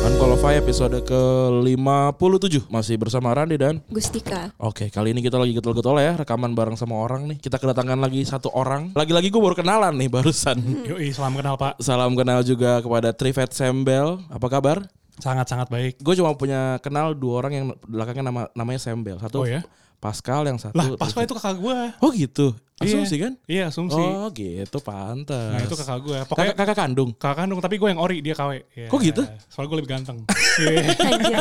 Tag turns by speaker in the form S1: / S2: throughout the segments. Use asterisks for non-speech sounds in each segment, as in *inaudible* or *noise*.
S1: Unqualify episode ke-57 Masih bersama Randy dan
S2: Gustika.
S1: Oke kali ini kita lagi getol-getol ya Rekaman bareng sama orang nih Kita kedatangan lagi satu orang Lagi-lagi gue baru kenalan nih *laughs* barusan
S3: Yoi, salam kenal Pak.
S1: Salam kenal juga kepada Trivet Sembel Apa kabar?
S3: Sangat-sangat baik.
S1: Gue cuma punya kenal dua orang yang belakangnya nama, namanya Sembel Satu
S3: Oh ya?
S1: Pascal yang satu
S3: Lah, Pascal itu kakak gue.
S1: Oh gitu? Asumsi
S3: Iya.
S1: kan?
S3: Iya, asumsi.
S1: Oh gitu pantas
S3: Nah, itu kakak gue. Pokoknya
S1: kakak, kakak kandung
S3: kakak kandung, tapi gue yang ori, dia KW. Iya.
S1: Kok gitu?
S3: Soalnya gue lebih
S1: *laughs*
S3: ganteng. Iya.
S2: Anjir.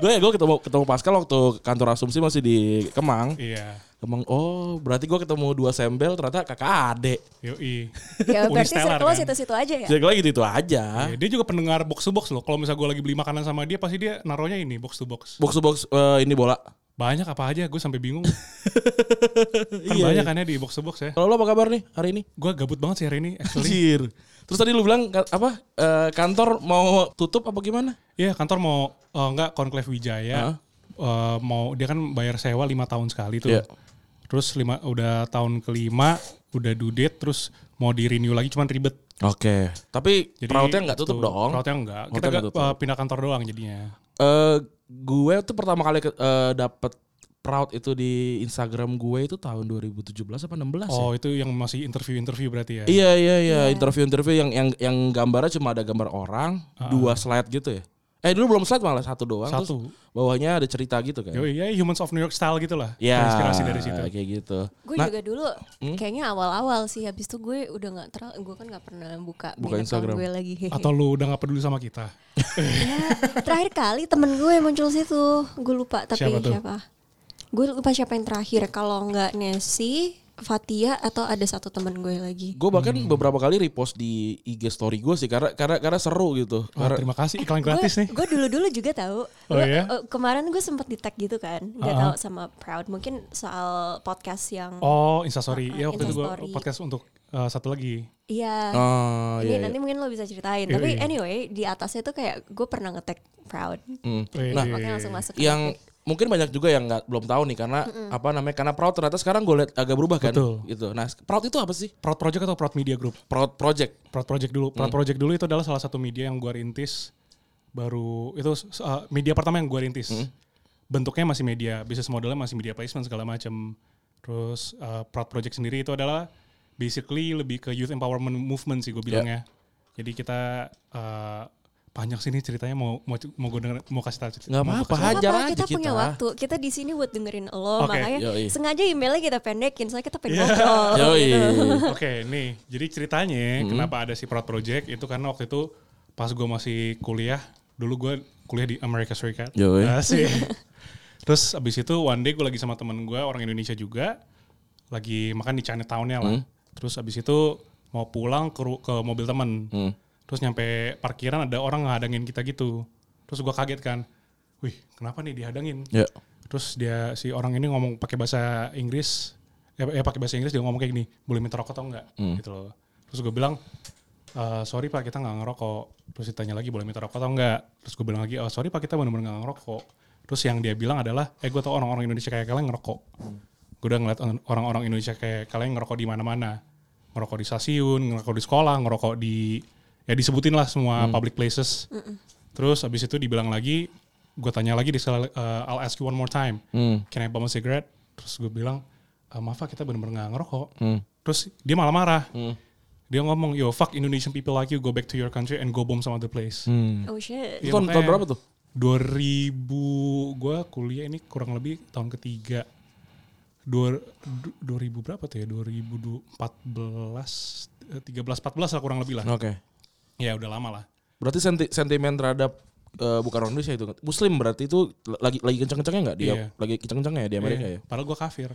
S1: Gue ya gue ketemu, ketemu Pascal waktu kantor asumsi masih di Kemang
S3: Iya.
S1: Emang oh berarti gue ketemu dua sembel ternyata kakak ade.
S3: Yoi.
S2: *laughs* Ya berarti
S3: Unistellar,
S2: circle
S3: kan?
S2: situ-situ aja ya.
S1: Jadi lagi gitu, aja.
S3: Iya, Dia juga pendengar box to box loh. Kalau misalnya gue lagi beli makanan sama dia, pasti dia naruhnya ini, box to box.
S1: Box to box eh, ini bola.
S3: Banyak apa aja, gue sampai
S1: *laughs*
S3: bingung. kan
S1: Iya,
S3: banyak
S1: iya.
S3: kan ya di box to box ya.
S1: Kalau lo apa kabar nih hari ini?
S3: Gue gabut banget sih hari ini, actually.
S1: Anjir. Terus tadi lu bilang ka- apa eh, kantor mau tutup apa gimana?
S3: Iya, kantor mau, eh, enggak, Conclave
S1: Hah?
S3: Wijaya. Eh, mau dia kan bayar sewa lima tahun sekali tuh.
S1: Iya.
S3: Terus lima udah tahun kelima udah due date terus mau di renew lagi cuman ribet.
S1: Oke. Tapi
S3: Jadi
S1: proudnya nggak tutup
S3: tuh,
S1: dong.
S3: Proudnya enggak. Kita
S1: Proudnya nggak
S3: nggak,
S1: tutup.
S3: eh, pindah kantor doang jadinya.
S1: Eh, gue tuh pertama kali ke- eh, dapet proud itu di Instagram gue itu tahun 2017 apa 16 ya?
S3: Oh, itu yang masih interview-interview berarti ya.
S1: Iya iya iya interview interview yang yang yang gambarnya cuma ada gambar orang dua slide gitu ya. Eh dulu belum slide malah satu doang.
S3: Ah. Satu.
S1: Terus bawahnya ada cerita gitu kan.
S3: Yo, iya, Humans of New York style gitu lah.
S1: Ya.
S3: Inspirasi dari situ.
S1: Kayak gitu.
S2: Gue
S1: Nah,
S2: juga dulu
S3: Hmm?
S2: kayaknya awal-awal sih habis itu gue udah nggak terlalu gue kan nggak pernah buka,
S1: Buka
S2: main account
S1: Instagram.
S2: gue lagi. *laughs* Iya.
S3: Atau lu udah gak peduli sama kita?
S2: terakhir kali temen gue muncul situ, gue lupa tapi
S3: Siapa
S2: siapa?
S3: tuh?
S2: Gue lupa siapa yang terakhir kalau nggak Nesi, Fatia atau ada satu temen gue lagi.
S1: Gue bahkan
S3: Hmm.
S1: beberapa kali repost di IG story gue sih karena karena karena seru gitu.
S3: Wah,
S1: Karena-
S3: Oh, terima kasih iklan gratis nih.
S2: Gue dulu-dulu juga tahu.
S3: Oh,
S2: Gua-
S3: iya?
S2: eh, kemarin gue sempet di tag gitu kan, nggak
S3: Uh-uh.
S2: tahu sama Proud. Mungkin soal podcast yang
S3: Oh, Instastory.
S2: Ah,
S3: Ya waktu itu gue
S2: Instastory.
S3: podcast untuk eh, satu lagi.
S2: iya.
S1: Ah,
S2: Ini
S1: iya, iya.
S2: nanti mungkin lo bisa ceritain.
S3: Iya,
S2: Tapi
S3: iya.
S2: anyway, di atasnya tuh kayak gue pernah ngetek proud.
S1: Hmm.
S3: Eh,
S1: Nah,
S3: iya.
S2: Makanya langsung masuk.
S1: yang mungkin banyak juga yang nggak belum tahu nih karena apa namanya karena proud ternyata sekarang gue lihat agak berubah kan
S3: Betul.
S1: gitu. Nah, proud itu apa sih?
S3: Proud Project atau Proud Media Group?
S1: Proud project.
S3: Proud Project dulu.
S1: Hmm.
S3: Proud Project dulu itu adalah salah satu media yang gua rintis baru itu uh, media pertama yang gua rintis.
S1: Hmm.
S3: Bentuknya masih media, bisnis modelnya masih media placement segala macam. Terus uh, Proud Project sendiri itu adalah basically lebih ke youth empowerment movement
S1: Ya.
S3: sih gue bilangnya. Jadi kita uh, panjang sini ceritanya mau mau mau gue denger, mau kasih tahu cerita.
S1: Nggak
S3: mau
S1: apa-apa,
S3: kasih-
S2: Gak
S1: hajar
S2: apa-apa,
S1: aja
S2: kita,
S1: kita.
S2: punya waktu. Kita di sini buat dengerin lo,
S3: Oke,
S2: makanya
S1: yoi. Iya.
S2: sengaja emailnya kita pendekin soalnya kita pengen ngobrol.
S1: Yoi.
S2: Gitu.
S3: Oke, nih. Jadi ceritanya kenapa ada si Proud Project itu karena waktu itu pas gue masih kuliah, dulu gue kuliah di Amerika Serikat.
S1: Yoi.
S3: *laughs* Asik. Terus abis itu one day gue lagi sama temen gue orang Indonesia juga, lagi makan di Chinatown-nya lah. Terus abis itu mau pulang ke, ru- ke mobil temen. Terus nyampe parkiran ada orang ngadangin kita gitu. Terus gue kaget kan, wih kenapa nih dihadangin?
S1: Ya.
S3: Terus dia si orang ini ngomong pakai bahasa Inggris, ya, ya pakai bahasa Inggris dia ngomong kayak gini, boleh minta rokok atau enggak? Gitu loh. Terus gue bilang, "Eh, sorry pak kita nggak ngerokok. Terus ditanya lagi boleh minta rokok atau enggak? Terus gue bilang lagi, "Eh, sorry pak kita benar-benar nggak ngerokok. Terus yang dia bilang adalah, eh gue tau orang-orang Indonesia kayak kalian ngerokok. Gue udah ngeliat orang-orang Indonesia kayak kalian ngerokok di mana-mana, ngerokok di stasiun, ngerokok di sekolah, ngerokok di ya disebutin lah semua public places. Terus abis itu dibilang lagi, gue tanya lagi di sekali, uh, I'll ask you one more time, can I bum a cigarette? Terus gue bilang, "Eh, maaf Pak, kita bener-bener gak ngerokok. Terus dia malah marah. Dia ngomong, yo fuck Indonesian people like you, go back to your country and go bomb some other place.
S2: Oh shit.
S3: Iya,
S1: Itu tahun, tahun
S3: makanya
S1: berapa tuh?
S3: 2000, gue kuliah ini kurang lebih tahun ketiga. Dua, du- 2000 berapa tuh ya? 2014, eh, 13, 14 lah kurang lebih lah.
S1: Oke.
S3: Ya udah lama lah.
S1: Berarti senti- Nah, sentimen terhadap eh, bukan orang Indonesia itu Muslim berarti itu lagi lagi kencang-kencangnya nggak dia
S3: Iya.
S1: lagi kencang-kencangnya ya di Amerika ya
S3: Iya, Padahal gue
S1: *laughs*
S3: kafir.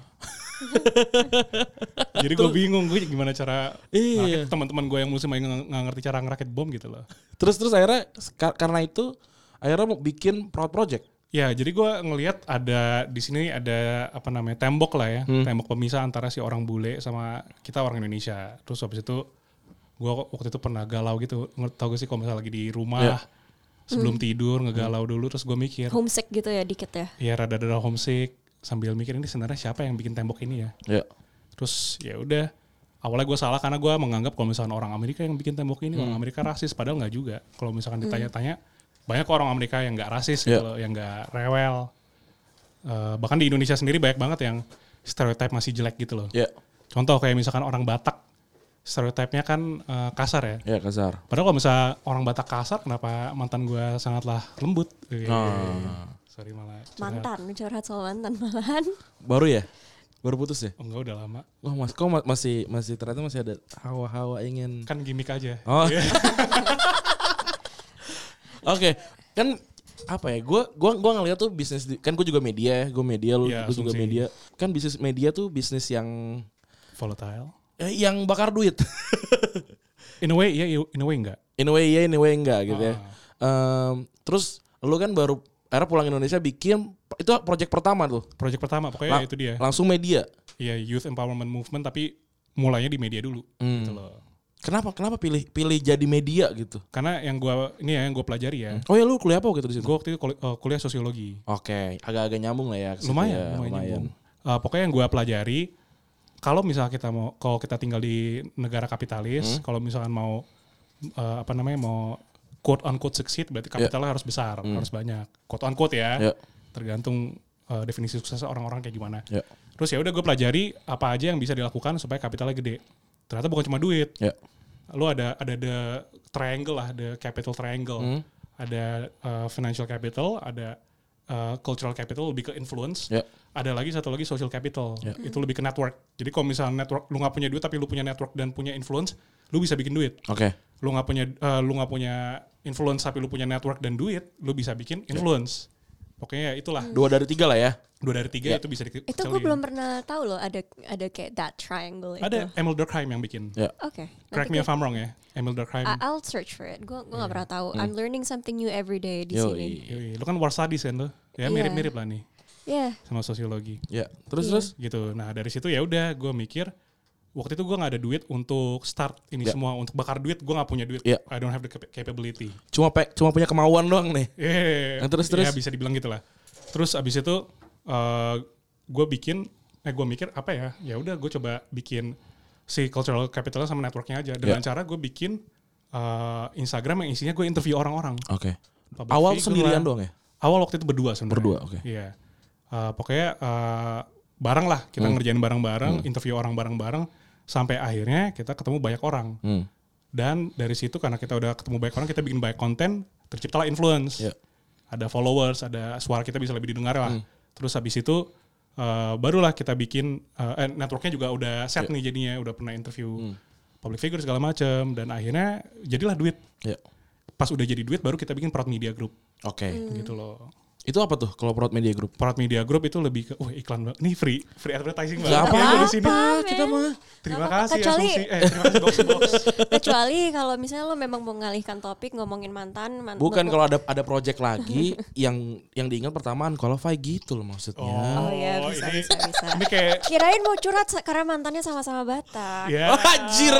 S3: Jadi gue bingung gue gimana cara
S1: Iya.
S3: ngerakit teman-teman gue yang muslim aja nggak nggak ngerti cara ngerakit bom gitu loh.
S1: terus terus akhirnya ka- karena itu akhirnya mau bikin proud project
S3: Ya, jadi gue ngelihat ada di sini ada apa namanya tembok lah ya, tembok pemisah antara si orang bule sama kita orang Indonesia. Terus habis itu gue waktu itu pernah galau gitu, Nge- tau gak sih kalau misalnya lagi di rumah sebelum tidur ngegalau dulu, terus gue mikir,
S2: homesick gitu ya dikit ya
S3: ya rada-rada homesick sambil mikir ini sebenarnya siapa yang bikin tembok ini ya.
S1: ya
S3: Terus ya udah awalnya gue salah karena gue menganggap kalau misalkan orang Amerika yang bikin tembok ini
S1: Hmm.
S3: orang Amerika rasis padahal nggak juga. Kalau misalkan ditanya-tanya banyak kok orang Amerika yang nggak rasis gitu
S1: Iya.
S3: loh, yang nggak rewel. Eh, bahkan di Indonesia sendiri banyak banget yang stereotip masih jelek gitu loh.
S1: ya
S3: Contoh kayak misalkan orang Batak stereotipnya kan eh, kasar ya.
S1: ya kasar
S3: Padahal kalau misalnya orang Batak kasar kenapa mantan gue sangatlah lembut. Eh,
S1: Nah, Ah.
S3: Sorry malah. curhat.
S2: mantan curhat soal mantan malahan
S1: baru ya baru putus ya
S3: Oh, enggak udah lama.
S1: Wah mas, kau ma- masih masih ternyata masih ada hawa-hawa ingin.
S3: Kan gimmick aja.
S1: Hmm. Oh. *laughs* Oke, kan apa ya? Gue gua gua ngeliat tuh bisnis di- kan gue juga media, ya, gue media lu,
S3: Iya,
S1: lu juga
S3: asumsi.
S1: media. Kan bisnis media tuh bisnis yang
S3: Volatile.
S1: eh, yang bakar duit. *laughs*
S3: In a way, iya, in a way enggak.
S1: in a way iya, in a way enggak gitu ya.
S3: Ah.
S1: Em, terus lu kan baru akhirnya pulang Indonesia bikin itu project pertama tuh.
S3: Project pertama pokoknya
S1: Lang-
S3: itu dia.
S1: Langsung media.
S3: Iya, youth empowerment movement tapi mulainya di media dulu
S1: Hmm.
S3: gitu loh.
S1: Kenapa kenapa pilih pilih jadi media gitu?
S3: Karena yang gua ini ya yang gua pelajari ya.
S1: Oh ya lu kuliah apa gitu di situ?
S3: Gua waktu itu kul- eh, kuliah sosiologi.
S1: Oke, agak-agak nyambung lah ya. ke situ
S3: Lumayan,
S1: ya,
S3: lumayan. nyambung. Eh, pokoknya yang gua pelajari kalau misalnya kita mau kalau kita tinggal di negara
S1: Hmm.
S3: kapitalis, kalau misalkan mau eh, apa namanya mau quote unquote succeed berarti
S1: Iya.
S3: kapitalnya harus besar,
S1: Hmm.
S3: harus banyak. Quote unquote
S1: Ya.
S3: ya. Tergantung eh, definisi sukses orang-orang kayak gimana.
S1: Ya,
S3: Terus ya udah gue pelajari apa aja yang bisa dilakukan supaya kapitalnya gede. Ternyata bukan cuma duit.
S1: ya,
S3: Lu ada ada the triangle lah, the capital triangle.
S1: Hmm.
S3: Ada uh, financial capital, ada uh, cultural capital lebih ke influence.
S1: ya.
S3: Ada lagi satu lagi social capital.
S1: Ya.
S3: Itu lebih ke network. Jadi kalau misalnya network lu nggak punya duit tapi lu punya network dan punya influence, lu bisa bikin duit.
S1: Oke.
S3: Lu nggak punya uh, lu nggak punya influence tapi lu punya network dan duit, lu bisa bikin
S1: Ya.
S3: influence. Pokoknya ya itulah.
S1: Dua dari tiga lah ya.
S3: Dua dari tiga
S1: Ya.
S3: itu bisa dikecilin.
S2: itu gue belum pernah tahu loh ada ada kayak that triangle itu
S3: Ada Emil Durkheim yang bikin.
S1: Ya.
S2: oke nanti
S3: Correct me
S2: gua-
S3: if I'm wrong ya, Emil Durkheim.
S2: I- I'll search for it gue gue nggak pernah tahu I'm learning something new every day di sini
S1: Iya. Hmm. Yoi.
S3: Yoi, Lu kan war studies kan tuh, ya
S2: Iya.
S3: mirip-mirip lah nih
S2: ya
S3: sama sosiologi
S1: Ya. Terus terus.
S3: gitu. Nah dari situ ya udah gue mikir waktu itu gue nggak ada duit untuk start ini
S1: Ya.
S3: semua untuk bakar duit gue nggak punya duit.
S1: Ya.
S3: I don't have the cap- capability.
S1: Cuma pe cuma punya kemauan doang nih.
S3: Eh,
S1: Nah, terus, terus?
S3: Ya bisa dibilang gitu lah. Terus abis itu gue bikin, eh gue mikir apa ya? Ya udah gue coba bikin si cultural capitalnya sama networknya aja dengan
S1: Ya.
S3: cara gue bikin eh, Instagram yang isinya gue interview orang-orang.
S1: Oke.
S3: Public
S1: Awal
S3: figure
S1: sendirian
S3: lah.
S1: doang ya.
S3: Awal waktu itu berdua sebenarnya.
S1: Berdua, oke.
S3: Iya. Eh, pokoknya eh, bareng lah kita
S1: Hmm.
S3: ngerjain bareng-bareng, interview orang bareng-bareng sampai akhirnya kita ketemu banyak orang.
S1: Hmm.
S3: Dan dari situ karena kita udah ketemu banyak orang, kita bikin banyak konten, terciptalah influence.
S1: Ya.
S3: Ada followers, ada suara kita bisa lebih
S1: Hmm.
S3: didengar lah. Terus habis itu eh, barulah kita bikin eh, eh, networknya juga udah
S1: Iya.
S3: set nih jadinya, udah pernah
S1: Hmm.
S3: interview public figure segala macam dan akhirnya jadilah duit.
S1: Ya.
S3: Pas udah jadi duit baru kita bikin Proud Media Group
S1: Oke.
S2: Hmm.
S3: gitu loh.
S1: Itu apa tuh kalau Proud Media Group?
S3: Proud Media Group itu lebih ke, wah iklan banget. Nih free, free advertising banget.
S1: Gak apa-apa
S3: di sini.
S1: Ah, kita mah.
S2: Gak
S3: Terima
S2: apa-apa,
S3: kasih
S2: kecuali-
S3: asumsi. Eh, terima kasih box box.
S2: kecuali kalau misalnya lo memang mengalihkan topik ngomongin mantan man-
S1: Bukan
S2: ngomong-
S1: kalau ada ada project lagi yang yang diingat pertama qualify gitu loh maksudnya.
S2: *laughs* oh ya
S3: Oh,
S2: bisa
S3: ini-
S2: bisa bisa
S3: Ini kayak,
S2: kirain mau curhat se- karena mantannya sama-sama Batak
S1: Iya.
S2: *laughs*
S3: ya.
S1: Anjir.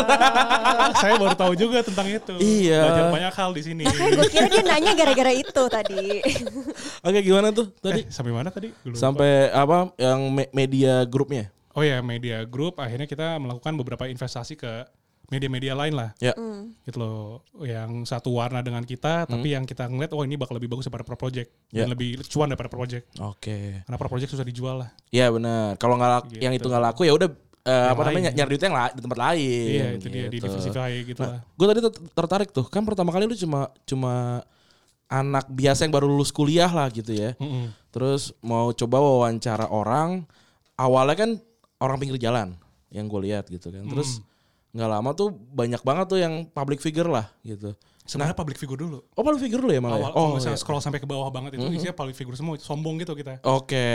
S3: saya baru tahu juga tentang itu.
S1: Iya.
S3: Belajar banyak hal di sini.
S2: makanya gue kira dia nanya gara-gara itu tadi
S1: *laughs* Oke, gimana tuh tadi?
S3: Eh, sampai mana tadi? Gua lupa.
S1: Sampai apa yang me- media grupnya?
S3: Oh ya, media group akhirnya kita melakukan beberapa investasi ke media-media lain lah.
S1: Ya.
S2: Hmm.
S3: Gitu loh. Yang satu warna dengan kita, tapi yang kita ngeliat, oh ini bakal lebih bagus daripada pro project.
S1: Hmm. Ya.
S3: Dan lebih cuan daripada pro project.
S1: Oke.
S3: Karena pro project susah dijual lah.
S1: Iya benar. Kalau nggak laku- yang itu nggak laku ya udah eh, apa
S3: Gitu. lain.
S1: namanya nyari duitnya yang la- di tempat lain.
S3: Iya, itu dia di diversify gitu lah.
S1: Gue tadi ter- tertarik tuh kan pertama kali lu cuma cuma anak biasa yang baru lulus kuliah lah gitu ya.
S3: Mm-mm.
S1: Terus mau coba
S3: Mm.
S1: wawancara orang awalnya kan orang pinggir jalan yang gue lihat gitu kan. Terus nggak lama tuh banyak banget tuh yang public figure lah gitu.
S3: Sebenarnya public figure dulu.
S1: Oh public figure dulu ya malah. ya?
S3: Awal
S1: oh
S3: kalau misalnya
S1: iya.
S3: scroll sampai ke bawah banget itu isinya public figure semua, sombong gitu kita.
S1: Oke.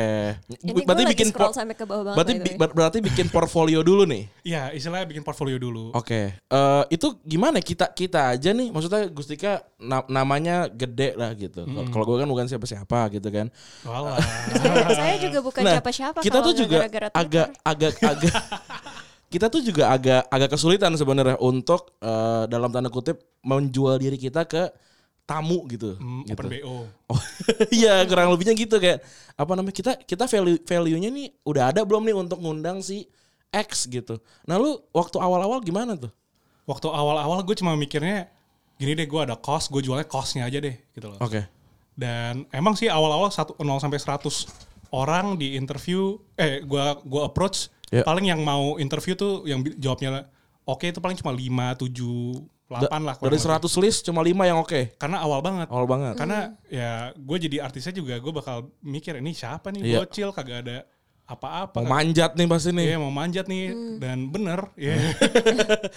S2: Ini
S1: Bu-
S2: gua
S1: Berarti
S2: lagi
S1: bikin
S2: scroll gitu
S1: por-
S2: sampai ke ya. bawah banget.
S1: berarti
S2: by the
S1: bi-
S2: way.
S1: ber- berarti bikin portfolio dulu nih.
S3: Iya, istilahnya bikin portfolio dulu.
S1: Oke. Eh itu gimana kita kita aja nih maksudnya Gustika na- namanya gede lah gitu.
S3: Hmm.
S1: Kalau gue kan bukan siapa-siapa gitu kan. *laughs*
S3: Walah.
S2: saya juga bukan
S1: Nah,
S2: siapa-siapa.
S1: Kita
S2: kalau
S1: tuh
S2: nggak
S1: juga
S2: gara-gara
S1: agak
S2: Twitter.
S1: agak agak *laughs* kita tuh juga agak agak kesulitan sebenarnya untuk eh, dalam tanda kutip menjual diri kita ke tamu gitu.
S3: Hmm,
S1: gitu.
S3: Open BO.
S1: Oh, *laughs* iya kurang lebihnya gitu kayak apa namanya kita kita value value-nya nih udah ada belum nih untuk ngundang si X gitu. Nah lu waktu awal-awal gimana tuh?
S3: Waktu awal-awal gue cuma mikirnya gini deh gue ada cost, gue jualnya costnya aja deh gitu loh.
S1: Oke.
S3: Dan emang sih awal-awal satu- 0 sampai 100 orang di interview eh gua gua approach
S1: Ya.
S3: paling yang mau interview tuh yang bi- jawabnya oke itu paling cuma 5 7 8 lah
S1: Dari
S3: kurang lebih.
S1: 100 list cuma 5 yang oke.
S3: Karena awal banget.
S1: Awal banget.
S3: Karena ya gue jadi artisnya juga gue bakal mikir ini siapa
S1: Iya.
S3: nih bocil kagak ada
S1: Mau
S3: apa-apa. kagak-
S1: manjat nih pasti nih.
S3: Iya mau manjat nih dan bener ya.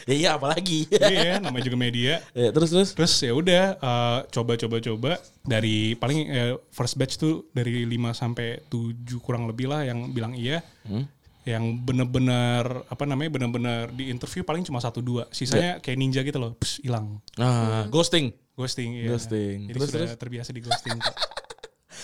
S1: Ya iya apalagi.
S3: *laughs*
S1: *laughs*
S3: Iya namanya juga media.
S1: ya, terus terus.
S3: Terus ya udah eh, coba-coba-coba dari paling eh, first batch tuh dari 5 sampai 7 kurang lebih lah yang bilang iya.
S1: Hmm.
S3: Yang bener-bener apa namanya bener-bener di interview paling cuma satu dua.
S1: Iya.
S3: Sisanya kayak ninja gitu loh, pss, hilang. Hmm.
S1: Nah, ghosting.
S3: Ghosting iya.
S1: Ghosting.
S3: Jadi
S1: Terus,
S3: sudah terbiasa di ghosting. Kak. *laughs*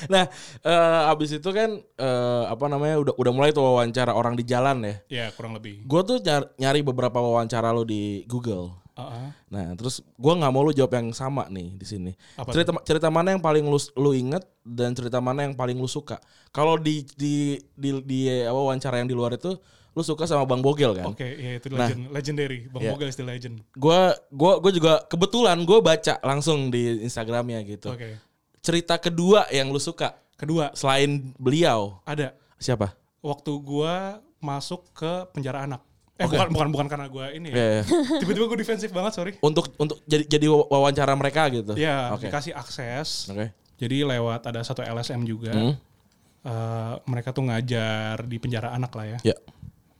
S1: Nah, eh abis itu kan eh apa namanya udah udah mulai tuh wawancara orang di jalan ya.
S3: ya kurang lebih.
S1: Gue tuh nyar- nyari beberapa wawancara lo di Google.
S3: Heeh.
S1: Nah, terus gua nggak mau lu jawab yang sama nih di sini.
S3: Apa
S1: Cerita cerita mana yang paling lu lu inget dan cerita mana yang paling lu suka? Kalau di di di, di apa wawancara yang di luar itu lu suka sama Bang Bogel kan?
S3: Oke, ya itu legend, legendary. Bang
S1: Iya.
S3: Mogel is the legend.
S1: Gua gua gua juga kebetulan gua baca langsung di Instagramnya gitu.
S3: Oke.
S1: Cerita kedua yang lu suka
S3: Kedua,
S1: selain beliau
S3: ada
S1: siapa?
S3: waktu gua masuk ke penjara anak. Eh bukan bukan bukan karena gua ini. ya.
S1: Ya, ya.
S3: *laughs* Tiba-tiba gue defensif banget, sorry.
S1: untuk untuk jadi jadi wawancara mereka gitu.
S3: Ya,
S1: Oke.
S3: dikasih akses.
S1: Oke.
S3: Jadi lewat ada satu LSM juga.
S1: Hmm.
S3: Eh, mereka tuh ngajar di penjara anak lah ya.
S1: Ya.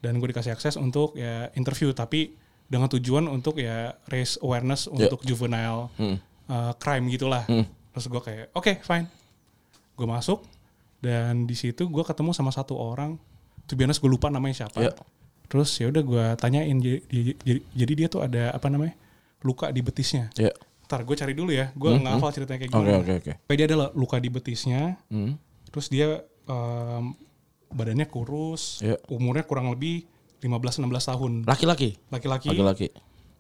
S3: Dan gue dikasih akses untuk ya interview tapi dengan tujuan untuk ya raise awareness
S1: Ya.
S3: untuk juvenile
S1: Hmm.
S3: eh, crime gitulah. Terus gue kayak oke fine. Gue masuk dan di situ gue ketemu sama satu orang. To be honest gue lupa namanya siapa.
S1: Ya.
S3: Terus ya udah gue tanyain jadi, jadi- jadi dia tuh ada apa namanya luka di betisnya.
S1: Ya.
S3: Ntar gue cari dulu ya. Gue nggak hafal ceritanya kayak gimana.
S1: Hmm, Oke oke oke.
S3: Tapi dia ada l- luka di betisnya.
S1: Hmm.
S3: Terus dia em, badannya kurus.
S1: Iya.
S3: Umurnya kurang lebih 15-16 tahun.
S1: Laki-laki.
S3: Laki-laki.
S1: Laki-laki.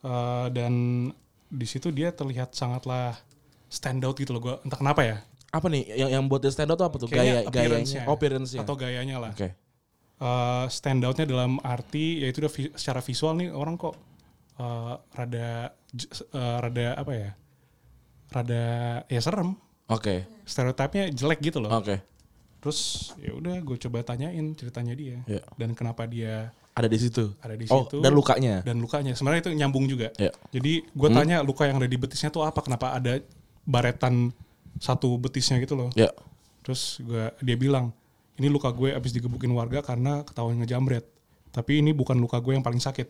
S3: Eh, dan di situ dia terlihat sangatlah stand out gitu loh. Gua, entah kenapa ya.
S1: apa nih yang yang buat dia stand out tuh apa tuh
S3: Kayaknya
S1: gaya gayanya
S3: appearance-nya.
S1: oh, appearance-nya
S3: Atau gayanya lah.
S1: oke
S3: Eh, stand outnya dalam arti yaitu dia vi- secara visual nih orang kok eh, rada j- eh, rada apa ya rada ya serem
S1: oke
S3: stereotipnya jelek gitu loh
S1: oke
S3: Terus ya udah gue coba tanyain ceritanya dia
S1: Iya.
S3: dan kenapa dia
S1: ada di situ
S3: ada di
S1: oh
S3: situ
S1: dan lukanya
S3: dan lukanya. Sebenarnya itu nyambung juga.
S1: Iya.
S3: Jadi gue tanya luka yang ada di betisnya tuh apa? Kenapa ada baretan satu betisnya gitu loh?
S1: ya
S3: Terus gua dia bilang ini luka gue abis digebukin warga karena ketahuan ngejamret. Tapi ini bukan luka gue yang paling sakit.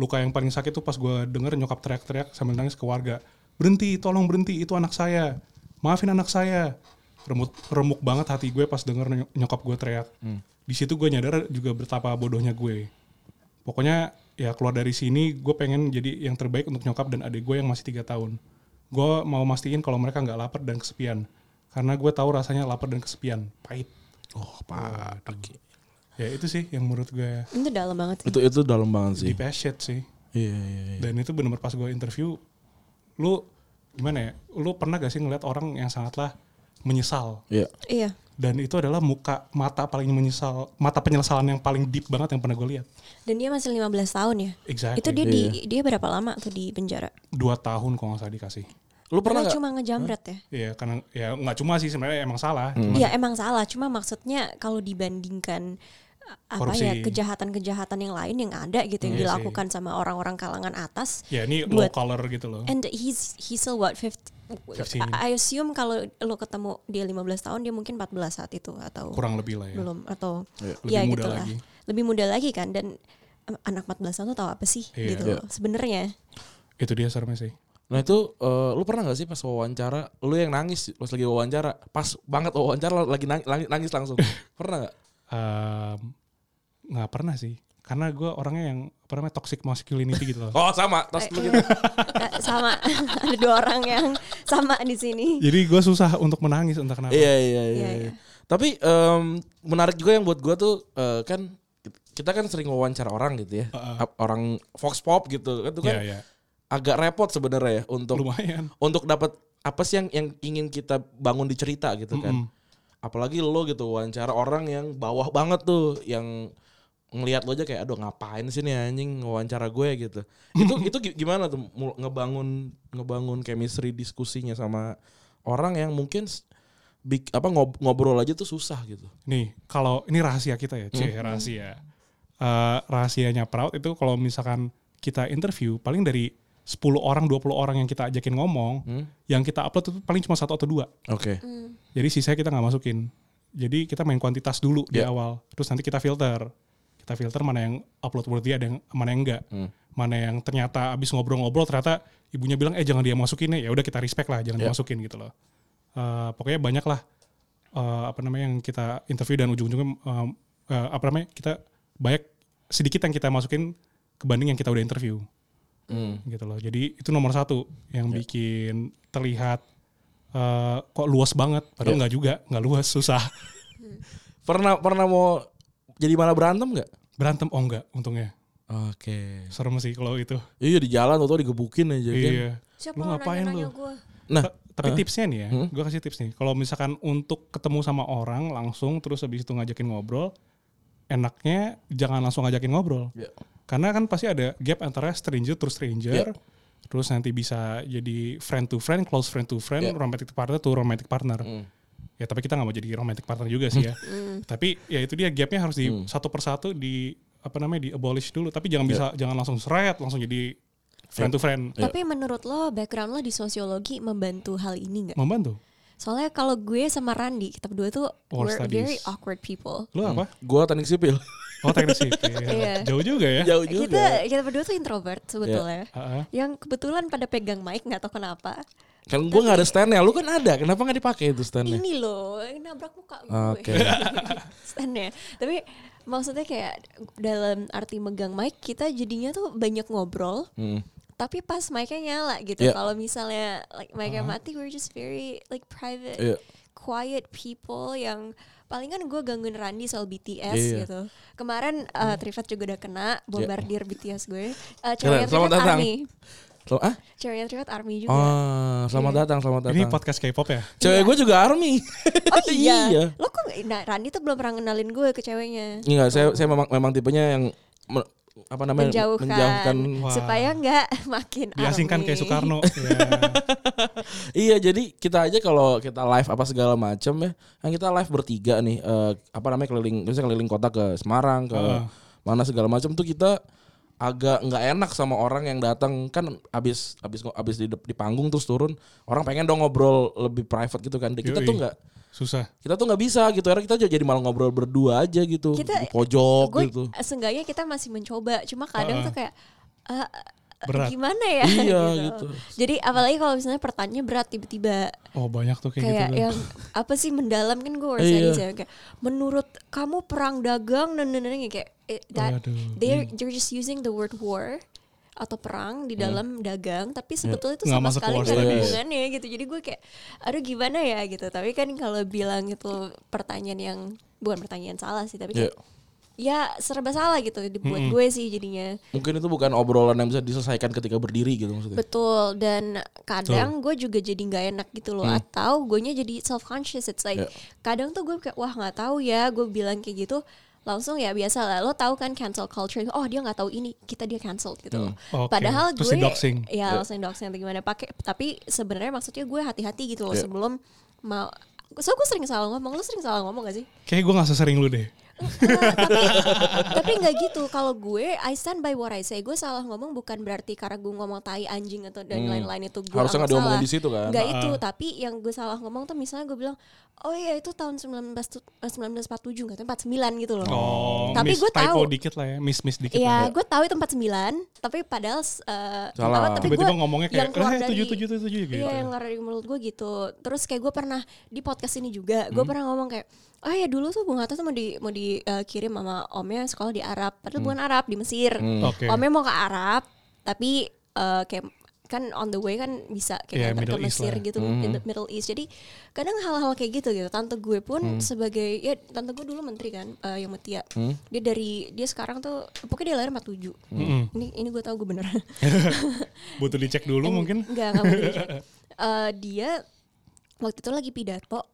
S3: Luka yang paling sakit tuh pas gue denger nyokap teriak-teriak sambil nangis ke warga. Berhenti, tolong berhenti, itu anak saya. Maafin anak saya. Remuk, remuk banget hati gue pas denger nyok- nyokap gue teriak. Di situ gue nyadar juga betapa bodohnya gue. Pokoknya ya keluar dari sini gue pengen jadi yang terbaik untuk nyokap dan adik gue yang masih tiga tahun. Gue mau mastiin kalau mereka nggak lapar dan kesepian. Karena gue tahu rasanya lapar dan kesepian. Pahit.
S1: oh pak oke.
S3: Ya itu sih yang menurut gue
S2: itu dalam banget. sih.
S1: itu itu dalam banget sih
S3: deep as shit sih.
S1: iya iya iya
S3: Dan itu bener-bener pas gue interview, lu gimana ya, lu pernah gak sih ngeliat orang yang sangatlah menyesal?
S1: Iya.
S2: Iya.
S3: Dan itu adalah muka, mata paling menyesal, mata penyesalan yang paling deep banget yang pernah gue lihat.
S2: Dan dia masih 15 tahun ya.
S3: Exactly.
S2: Itu dia di
S1: Iya.
S2: dia berapa lama tuh di penjara?
S3: Dua tahun kalau nggak salah dikasih.
S1: lu pernah
S2: Karena
S1: nggak
S2: cuma ngejamret ya?
S3: Iya, karena ya nggak cuma sih sebenarnya emang salah.
S1: Hmm.
S3: Cuma
S2: Iya emang salah, cuma maksudnya kalau dibandingkan uh, apa
S3: Korupsi.
S2: ya kejahatan-kejahatan yang lain yang ada gitu yang
S3: Iya sih.
S2: dilakukan sama orang-orang kalangan atas.
S3: ya ini
S2: Buat-
S3: low color gitu loh.
S2: And he's he's still what 50
S3: 15.
S2: I I assume kalau lo ketemu dia 15 tahun dia mungkin 14 saat itu atau
S3: Kurang lebih lah ya.
S2: belum atau
S3: Lebih
S2: ya
S3: muda
S2: gitu lah.
S3: lagi.
S2: Lebih muda lagi kan dan anak 14 tahun tuh tahu apa sih
S3: Iya.
S2: gitu
S1: Iya.
S2: loh sebenarnya.
S3: Itu dia seremnya sih.
S1: Nah itu eh, lu pernah gak sih pas wawancara lu yang nangis pas lagi wawancara pas banget wawancara lagi nang- nangis, nangis
S3: *laughs*
S1: langsung pernah gak?
S3: Em, nggak pernah sih. Karena gue orangnya yang apa namanya toxic masculinity
S1: *laughs*
S3: gitu loh.
S1: Oh sama tas lu gitu.
S2: Eh, *laughs* sama *laughs* ada dua orang yang sama di sini.
S3: Jadi gue susah untuk menangis entah kenapa.
S1: Iya iya iya.
S2: Iya,
S1: iya. Tapi em, menarik juga yang buat gua tuh eh, kan kita kan sering wawancara orang gitu ya Ap- orang Fox Pop gitu kan itu kan
S3: Iya, iya.
S1: agak repot sebenarnya ya untuk
S3: Lumayan.
S1: untuk dapat apa sih yang yang ingin kita bangun di cerita gitu kan. Apalagi lo gitu wawancara orang yang bawah banget tuh yang ngelihat lo aja kayak aduh ngapain sih nih anjing wawancara gue gitu. *laughs* Itu itu gi- gimana tuh mul- ngebangun ngebangun chemistry diskusinya sama orang yang mungkin s- bik- apa ngob- ngobrol aja tuh susah gitu.
S3: Nih, kalau ini rahasia kita ya, cuy,
S1: Hmm.
S3: rahasia. Eh, rahasianya Proud itu kalau misalkan kita interview paling dari 10 orang, 20 orang yang kita ajakin ngomong,
S1: Hmm.
S3: yang kita upload itu paling cuma satu atau dua.
S1: Oke.
S2: Hmm.
S3: Jadi sisanya kita nggak masukin. Jadi kita main kuantitas dulu di
S1: Ya.
S3: awal, terus nanti kita filter. Kita filter mana yang upload worthy ada yang mana yang enggak.
S1: Hmm.
S3: Mana yang ternyata abis ngobrol-ngobrol ternyata ibunya bilang eh jangan dia masukin ya, ya udah kita respect lah,
S1: Ya.
S3: jangan dimasukin gitu loh. Eh, pokoknya banyak lah eh, apa namanya yang kita interview dan ujung-ujungnya em, eh, apa namanya kita banyak sedikit yang kita masukin kebanding yang kita udah interview
S1: Hmm.
S3: gitu loh. Jadi itu nomor satu yang bikin terlihat eh, kok luas banget. Padahal
S1: Ya.
S3: nggak juga, nggak luas, susah.
S1: Pernah pernah mau jadi malah berantem nggak?
S3: Berantem oh enggak untungnya.
S1: Oke.
S3: Serem sih kalau itu.
S1: Iya di jalan atau digebukin aja kan.
S3: Iya. Lu ngapain lu?
S2: gue?
S1: Nah,
S3: Ta- Tapi tipsnya nih ya, gue kasih tips nih. Kalau misalkan untuk ketemu sama orang langsung terus habis itu ngajakin ngobrol, enaknya jangan langsung ngajakin ngobrol.
S1: Iya.
S3: Karena kan pasti ada gap antara stranger to stranger. Terus nanti bisa jadi friend to friend, close friend to friend,
S1: Iya.
S3: romantic partner to romantic partner. Ya tapi kita nggak mau jadi romantic partner juga sih ya. tapi ya itu dia gapnya harus di satu persatu di apa namanya di abolish dulu. Tapi jangan bisa jangan langsung seret langsung jadi friend to friend.
S1: Iya.
S2: Tapi menurut lo background lo di sosiologi membantu hal ini nggak?
S3: Membantu.
S2: Soalnya kalau gue sama Randi kita berdua tuh
S3: War
S2: we're
S3: studies.
S2: very awkward people.
S3: Lu apa?
S1: gua teknik
S2: *laughs*
S1: sipil.
S3: Oh teknik sipil.
S2: Iya.
S3: Jauh juga Iya. Ah, ya.
S1: Jauh juga.
S2: Kita kita berdua tuh introvert sebetulnya.
S3: Heeh.
S2: Yang kebetulan pada pegang mic nggak tahu kenapa.
S1: Kan gua nggak ada standnya, lu kan ada. Kenapa nggak dipakai itu standnya?
S2: Ini loh, ini nabrak muka gue.
S1: kan ya? Oke.
S2: *laughs* Standnya. Tapi maksudnya kayak dalam arti megang mic kita jadinya tuh banyak ngobrol.
S1: Hmm.
S2: Tapi pas mic-nya nyala gitu.
S1: Iya. Uh-huh.
S2: Kalau misalnya like mic-nya mati, we're just very like private,
S1: Iya.
S2: quiet people yang palingan gue gangguin Randi soal BTS
S1: Iya. Hmm.
S2: gitu. Kemarin uh, Trivet juga udah kena bombardir BTS gue.
S1: Keren,
S2: Uh, ceweknya
S1: selamat
S2: Trivet
S1: datang.
S2: Army.
S1: Sel- ah?
S2: Ceweknya Trivet Army juga.
S1: Ah, selamat datang, selamat datang.
S3: Ini podcast K-pop ya.
S1: Cewek gue juga army. *laughs*
S2: Oh iya. Lo kok nah, Randi tuh belum pernah ngenalin gue ke ceweknya.
S1: Enggak, saya saya memang memang tipenya yang me- apa namanya
S2: menjauhkan,
S3: Wah.
S2: supaya nggak *laughs* makin
S3: Diasingkan
S2: alami.
S3: kayak Soekarno. ya.
S1: Iya, jadi kita aja kalau kita live apa segala macam ya, kan kita live bertiga nih eh, apa namanya keliling misalnya keliling kota ke Semarang ke
S3: Heeh.
S1: mana segala macam tuh kita agak nggak enak sama orang yang datang kan abis abis abis di, dep- di panggung terus turun orang pengen dong ngobrol lebih private gitu kan kita
S3: Yoi.
S1: tuh nggak
S3: Susah.
S1: kita tuh nggak bisa gitu akhirnya kita jadi malah ngobrol berdua aja gitu
S2: Kita-
S1: di pojok
S2: Gue
S1: gitu
S2: seenggaknya kita masih mencoba, cuma kadang
S3: Ah, ah.
S2: tuh kayak ah,
S3: Berat.
S2: gimana ya? *laughs*
S1: Iya, gitu.
S2: Jadi apalagi kalau misalnya pertanyaannya berat tiba-tiba
S3: Oh banyak tuh kayak,
S2: kayak
S3: gitu.
S2: yang apa sih mendalam kan gue
S1: Iya.
S2: harus ya kayak menurut kamu perang dagang dan dan dan kayak eh, that
S3: Waduh. iya.
S2: they're they're just using the word war atau perang di dalam dagang tapi sebetulnya itu
S3: Iya. Nggak
S2: sama
S3: masuk ke
S2: sekali
S3: war
S2: nggak ada
S1: studies.
S2: hubungannya gitu jadi gue kayak aduh gimana ya gitu tapi kan kalau bilang itu pertanyaan yang bukan pertanyaan salah sih tapi
S1: Iya.
S2: kayak, ya serba salah gitu dibuat gue sih jadinya
S1: mungkin itu bukan obrolan yang bisa diselesaikan ketika berdiri gitu maksudnya
S2: Betul dan kadang gue juga jadi nggak enak gitu loh atau gue nya jadi self conscious it's like
S1: Yeah.
S2: kadang tuh gue kayak wah nggak tahu ya gue bilang kayak gitu langsung ya biasa lah lo tahu kan cancel culture oh dia nggak tahu ini kita dia cancel gitu loh.
S3: Oke,
S2: padahal
S3: terus
S2: gue
S3: di-doxing.
S2: ya langsung doxing atau gimana pakai tapi sebenarnya maksudnya gue hati-hati gitu loh
S1: Yeah.
S2: sebelum mau so gue sering salah ngomong lo sering salah ngomong gak sih
S3: Kayak gue gak sesering lu deh.
S2: Enggak, tapi tapi nggak gitu kalau gue I stand by what I say gue salah ngomong bukan berarti karena gue ngomong tai anjing atau dan
S1: Hmm.
S2: lain-lain itu gue
S1: Harusnya nggak
S2: anggap
S1: diomongin
S2: salah.
S1: di situ kan?
S2: nggak itu
S3: Ah.
S2: tapi yang gue salah ngomong tuh misalnya gue bilang oh iya itu tahun 19 tu- eh, 1947 nggak tuh, 49 gitu loh
S3: Oh,
S2: Tapi
S3: miss,
S2: gue tahu.
S3: typo dikit lah ya, miss miss dikit.
S2: Iya,
S3: lah.
S2: gue tahu itu 49, tapi padahal eh,
S1: Salah.
S2: nggak tahu, tapi
S3: Tiba-tiba
S2: gua
S3: ngomongnya kayak,
S2: yang keluar
S3: "Eh,
S2: dari-
S3: 777," gitu.
S2: Iya, yang keluar dari mulut gue gitu. Terus kayak gue pernah di podcast ini juga, gue
S3: Hmm.
S2: pernah ngomong kayak, oh ya dulu tuh gue nggak tahu tuh mau di mau dikirim sama omnya sekolah di Arab, padahal bukan Arab di Mesir.
S1: Hmm.
S3: Oke.
S2: Omnya mau ke Arab, tapi eh, kayak kan on the way kan bisa kayak
S3: Iya,
S2: nganter
S3: Middle
S2: ke
S3: East
S2: Mesir
S3: lah.
S2: gitu in the Middle East. Jadi kadang hal-hal kayak gitu gitu. Tante gue pun sebagai ya tante gue dulu menteri kan eh, yang Mutia. Dia dari dia sekarang tuh pokoknya dia lahir 47.
S3: Mm-mm.
S2: Ini ini gue tahu gue bener.
S3: Butuh dicek dulu
S2: En-
S3: mungkin.
S2: Enggak, enggak mungkin. Eh, dia waktu itu lagi pidato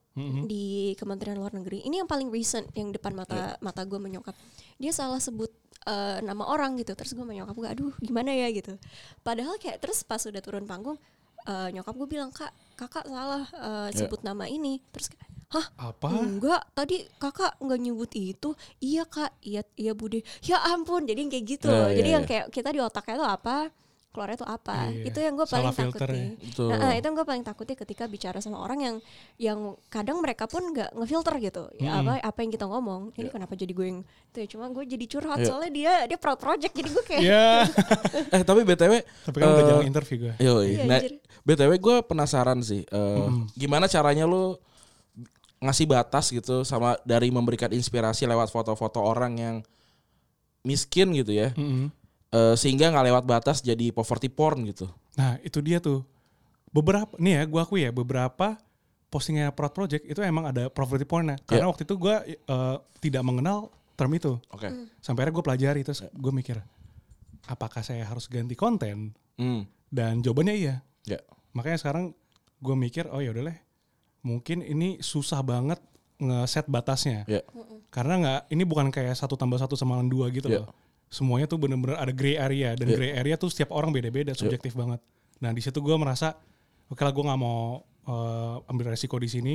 S2: di Kementerian Luar Negeri. Ini yang paling recent yang depan mata mata gue menyokap. Dia salah sebut eh, nama orang gitu. Terus gue menyokap gue, aduh gimana ya gitu. Padahal kayak terus pas udah turun panggung, eh, nyokap gue bilang kak kakak salah eh,
S1: Ya.
S2: sebut nama ini. Terus kayak, hah
S3: Apa?
S2: Enggak, tadi kakak nggak nyebut itu. Iya kak, iya iya bude. Ya ampun, jadi yang kayak gitu.
S1: Ya,
S2: loh.
S1: ya,
S2: jadi yang
S1: ya.
S2: kayak kita di otaknya tuh apa, keluarnya tuh apa.
S3: Eh, Iya,
S2: Itu yang gue paling
S3: salah filter
S2: takuti.
S3: ya.
S1: Betul.
S2: Nah, eh, itu yang gue paling takuti ketika bicara sama orang yang yang kadang mereka pun nggak ngefilter gitu. Ya, apa apa yang kita ngomong.
S3: Iya.
S2: Ini kenapa jadi gue yang tuh ya, cuma gue jadi curhat
S1: Iya.
S2: soalnya dia dia proud project jadi gue *laughs* kayak
S3: Iya.
S1: Eh tapi btw.
S3: Tapi kan udah
S1: eh,
S3: jarang interview gue.
S1: Yoi.
S2: Iya,
S1: Nah,
S2: anjir.
S1: BTW gue penasaran sih, eh, gimana caranya lo ngasih batas gitu sama dari memberikan inspirasi lewat foto-foto orang yang miskin gitu ya,
S3: Mm-mm.
S1: eh, sehingga nggak lewat batas jadi poverty porn gitu.
S3: Nah, itu dia tuh. Beberapa nih ya, gua akui ya, beberapa postingnya Proud Project itu emang ada poverty
S1: Iya.
S3: porn Karena waktu itu gua eh, tidak mengenal term itu.
S1: Oke.
S2: Hmm.
S3: Sampai akhirnya gue pelajari terus
S1: Ya.
S3: gue mikir apakah saya harus ganti konten?
S1: Hmm.
S3: Dan jawabannya iya.
S1: Ya.
S3: Makanya sekarang gue mikir oh ya udah deh. Mungkin ini susah banget ngeset batasnya.
S1: Ya.
S3: Karena nggak ini bukan kayak satu tambah satu sama dengan dua gitu
S1: Iya.
S3: loh. Semuanya tuh bener-bener ada gray area dan
S1: Iya.
S3: gray area tuh setiap orang
S1: Ya.
S3: beda-beda, subjektif banget. Nah di situ gue merasa oke lah gue nggak mau eh, ambil resiko di sini.